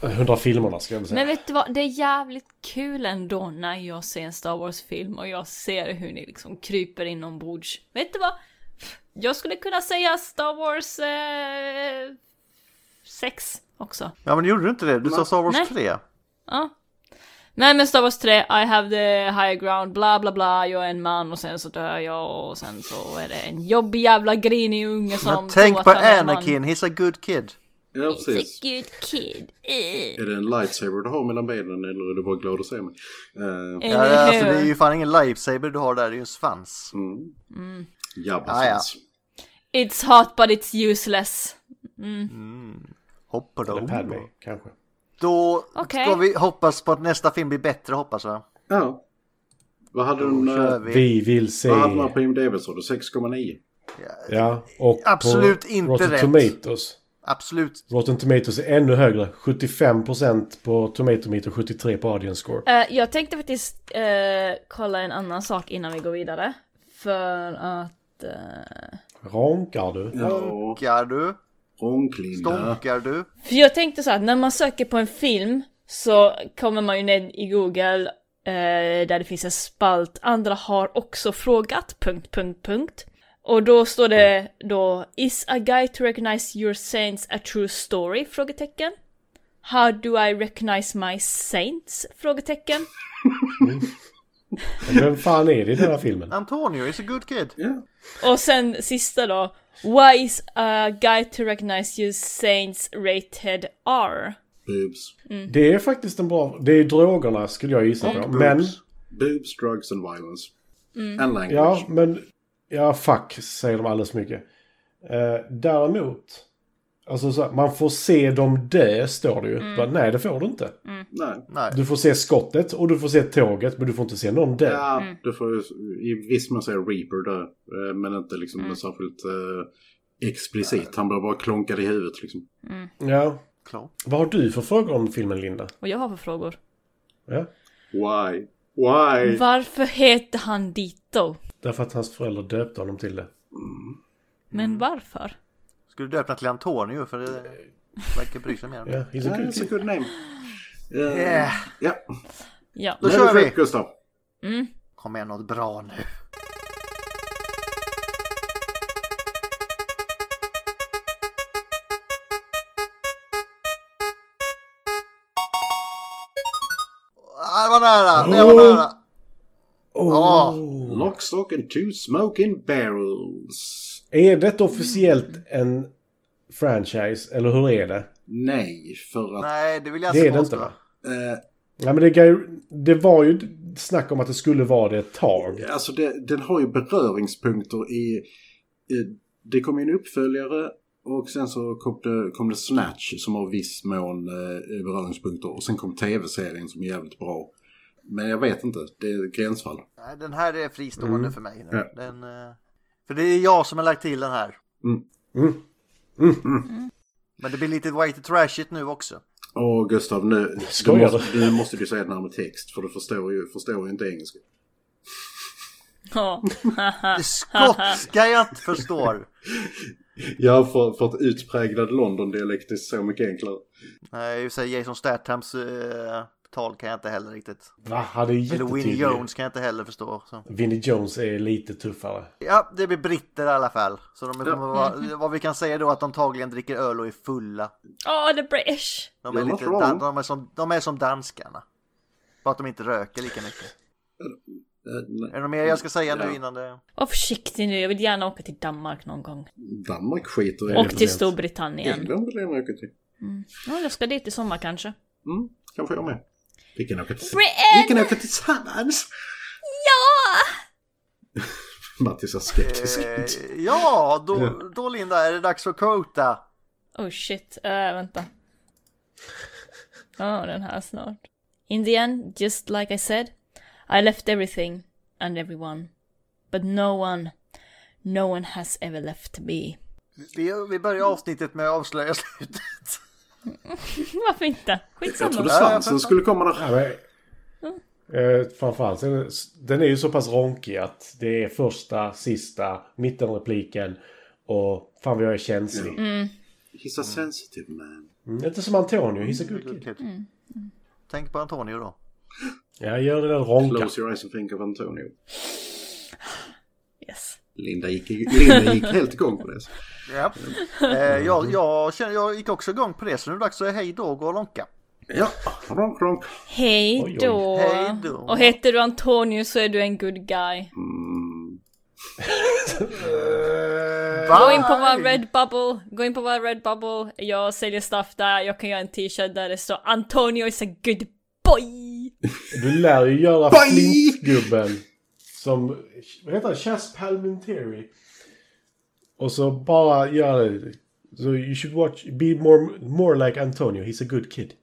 S2: Eh,
S4: 100 filmerna ska jag väl säga.
S1: Men vet du vad, det är jävligt kul ändå när jag ser en Star Wars-film och jag ser hur ni liksom kryper inombords. Vet du vad? Jag skulle kunna säga Star Wars 6 också.
S2: Ja men gjorde du inte det? Du sa Star Wars
S1: Nej.
S2: 3.
S1: Ja. Nej men Star Wars 3, I have the higher ground, bla bla bla, jag är en man och sen så dör jag och sen så är det en jobbig jävla grinig unge som
S2: Men tänk
S1: tror
S2: på
S1: att han är en man.
S2: Anakin, he's a good kid.
S5: Ja,
S1: He's a
S5: precis.
S1: good kid. Eh.
S5: Är det en lightsaber du har mellan benen eller är du bara glad att se mig? Eh,
S2: Ja,
S1: Eller
S2: alltså, det är
S1: hur?
S2: ju fan ingen lifesaver du har där, det är ju en svans.
S5: mm. Jabba
S2: Ah, ja.
S5: svans.
S1: It's hot but it's useless.
S2: Hoppa då.
S4: Eller Padme,
S5: Oh.
S4: kanske.
S2: Då
S1: Okej.
S2: ska vi hoppas på att nästa film blir bättre hoppas jag.
S5: Ja. Vad hade
S2: Då
S5: den... eh,
S2: kör vi.
S4: Vi vill se...
S5: Vad hamnar på IMDB sa du? 6,9?
S4: Ja, och
S2: Absolut
S4: på
S2: inte
S4: Rotten
S2: rätt.
S4: Tomatoes.
S2: Absolut.
S4: Rotten Tomatoes är ännu högre. 75% på Tomato Meter, 73% på Audience Score.
S1: Eh, jag tänkte faktiskt eh, kolla en annan sak innan vi går vidare. För att... eh,
S4: Ronkar du?
S5: Ja.
S2: Stonkar du?
S5: Ronklinda.
S2: Stonkar du?
S1: För jag tänkte så här, när man söker på en film så kommer man ju ner i Google eh, där det finns en spalt, andra har också frågat, punkt, punkt, punkt. Och då står det då Is a guide to recognize your saints a true story? Frågetecken. How do I recognize my saints? Frågetecken.
S4: Men Vem fan är det i den här filmen?
S2: Antonio is a good kid.
S5: Ja.
S1: Och sen sista då. Why is a guide to recognize you saints rated R?
S5: Boobs.
S4: Det är faktiskt en bra... Det är drogerna skulle jag gissa på. Men...
S5: Boobs. Boobs, drugs and violence. And language.
S4: Ja, men... Ja, fuck, säger de alldeles mycket. Eh, däremot... Alltså, så här, man får se dem dö, står det ju. Men Nej, det får du inte.
S5: Nej.
S2: Nej.
S4: Du får se skottet och du får se tåget, men du får inte se någon dö.
S5: Ja, du får ju i viss mån säga Reaper där. eh, Men inte liksom särskilt eh, explicit. Han blir bara klonkad i huvudet liksom.
S4: Ja.
S2: Klart.
S4: Vad har du för frågor om filmen, Linda?
S1: Och jag har för frågor.
S4: Ja.
S5: Why? Why?
S1: Varför heter han Dito?
S4: Därför att hans föräldrar döpte honom till det.
S1: Men varför?
S2: Skulle du döpa till Antonio för det verkar bry sig mer.
S4: Ja, he's a
S5: Yeah,
S4: good
S5: it's a
S4: kid.
S5: good name. Eh,
S2: Yeah.
S5: Ja,
S1: Ja.
S2: Då
S5: nu
S2: kör
S5: är det
S2: vi!
S5: fritt Gustav.
S2: Kom igen något bra nu. Ah, Det var nära! Det var
S4: Oh.
S2: nära! Ja.
S5: Lock, stock and two smoking barrels.
S4: Är detta officiellt en franchise, eller hur är det?
S5: Nej, för att...
S2: Nej, det vill jag
S4: Det är
S2: inte
S4: det
S2: påstå.
S4: inte, va?
S5: eh,
S4: Nej, men det, kan ju- det var ju snack om att det skulle vara det ett tag.
S5: Alltså det, den har ju beröringspunkter i... i det kom ju en uppföljare och sen så kom det, kom det Snatch som har viss mån eh, beröringspunkter och sen kom tv-serien som är jävligt bra. Men jag vet inte, det är ett gränsfall.
S2: Nej, den här är fristående
S4: Mm.
S2: för mig. Nu.
S5: Ja.
S2: Den, eh, för det är jag som har lagt till den här.
S4: Mm.
S2: Men det blir lite white trashigt nu också.
S5: Och Gustav, nu, du,
S4: Skojar
S5: måste, nu måste du säga den här med text för du förstår ju, förstår ju inte engelska.
S1: Ja.
S2: Det skotska jag inte förstår.
S5: Ja, för, för att utpräglad London-dialekt är så mycket enklare.
S2: Nej, i och för sig Jason Stathams eh, tal kan jag inte heller riktigt.
S4: Va, hade
S2: Eller Winnie
S4: jättetydlig.
S2: Jones kan jag inte heller förstå. Så.
S4: Vinnie Jones är lite tuffare.
S2: Ja, det blir britter i alla fall. Så de kommer vara, vad vi kan säga då att de antagligen dricker öl och är fulla.
S1: Åh, the British!
S2: De är,
S5: Ja,
S2: lite,
S5: varför
S2: dan-
S5: då?
S2: de, är som, de är som danskarna. Bara att de inte röker lika mycket.
S5: Eh, nej.
S2: Är det något mer jag ska säga
S5: Ja.
S2: nu innan det...
S1: Var försiktig nu, jag vill gärna åka till Danmark någon gång.
S5: Danmark skiter i
S1: Och
S5: det.
S1: till Storbritannien.
S5: England vill jag åka till.
S1: Ja, jag ska dit i sommar kanske.
S5: Mm, kanske jag med. Vi kan åka till Vi
S1: Britain!
S5: kan åka tillsammans!
S1: Ja!
S5: Mattis är skeptisk.
S2: Eh, ja, då, då Linda är det dags för Kota.
S1: Oh shit, Eh, vänta. Ja, den här snart. In the end, just like I said, I left everything and everyone. But no one, no one has ever left me.
S2: Vi, vi börjar avsnittet med att avslöja slutet.
S1: Varför inte?
S5: Jag trodde
S1: Skitsamma.
S5: svansen skulle komma där.
S4: Ja, men, eh, framförallt, den är- den är ju så pass ronkig att det är första, sista, mittenrepliken Och fan vad jag är känslig.
S5: He's a sensitive man.
S4: Mm, Inte som Antonio, he's a good kid.
S2: Kul.
S1: Mm.
S2: Tänk på Antonio då.
S4: Jag gör det där ronka.
S5: Close your eyes and think of Antonio.
S1: Yes.
S5: Linda gick, Linda gick helt igång på det.
S2: Ja. Eh, jag, jag, känner, jag gick också igång på det så nu är det dags att säga hej då och gå och lonka.
S5: Ja, ronk ronk.
S1: Hej
S4: Oj, oj.
S1: då.
S2: Hej då.
S1: Och heter du Antonio så är du en good guy. Gå in på vår Redbubble, gå in på vår Redbubble. Jag säljer stuff där, jag kan göra en t-shirt där det står Antonio is a good boy.
S4: Du lär ju göra
S5: Bye!
S4: flintgubben. Som, vad heter han? Chas Palminteri. Och så bara gör det. So you should watch, be more, more like Antonio, he's a good kid.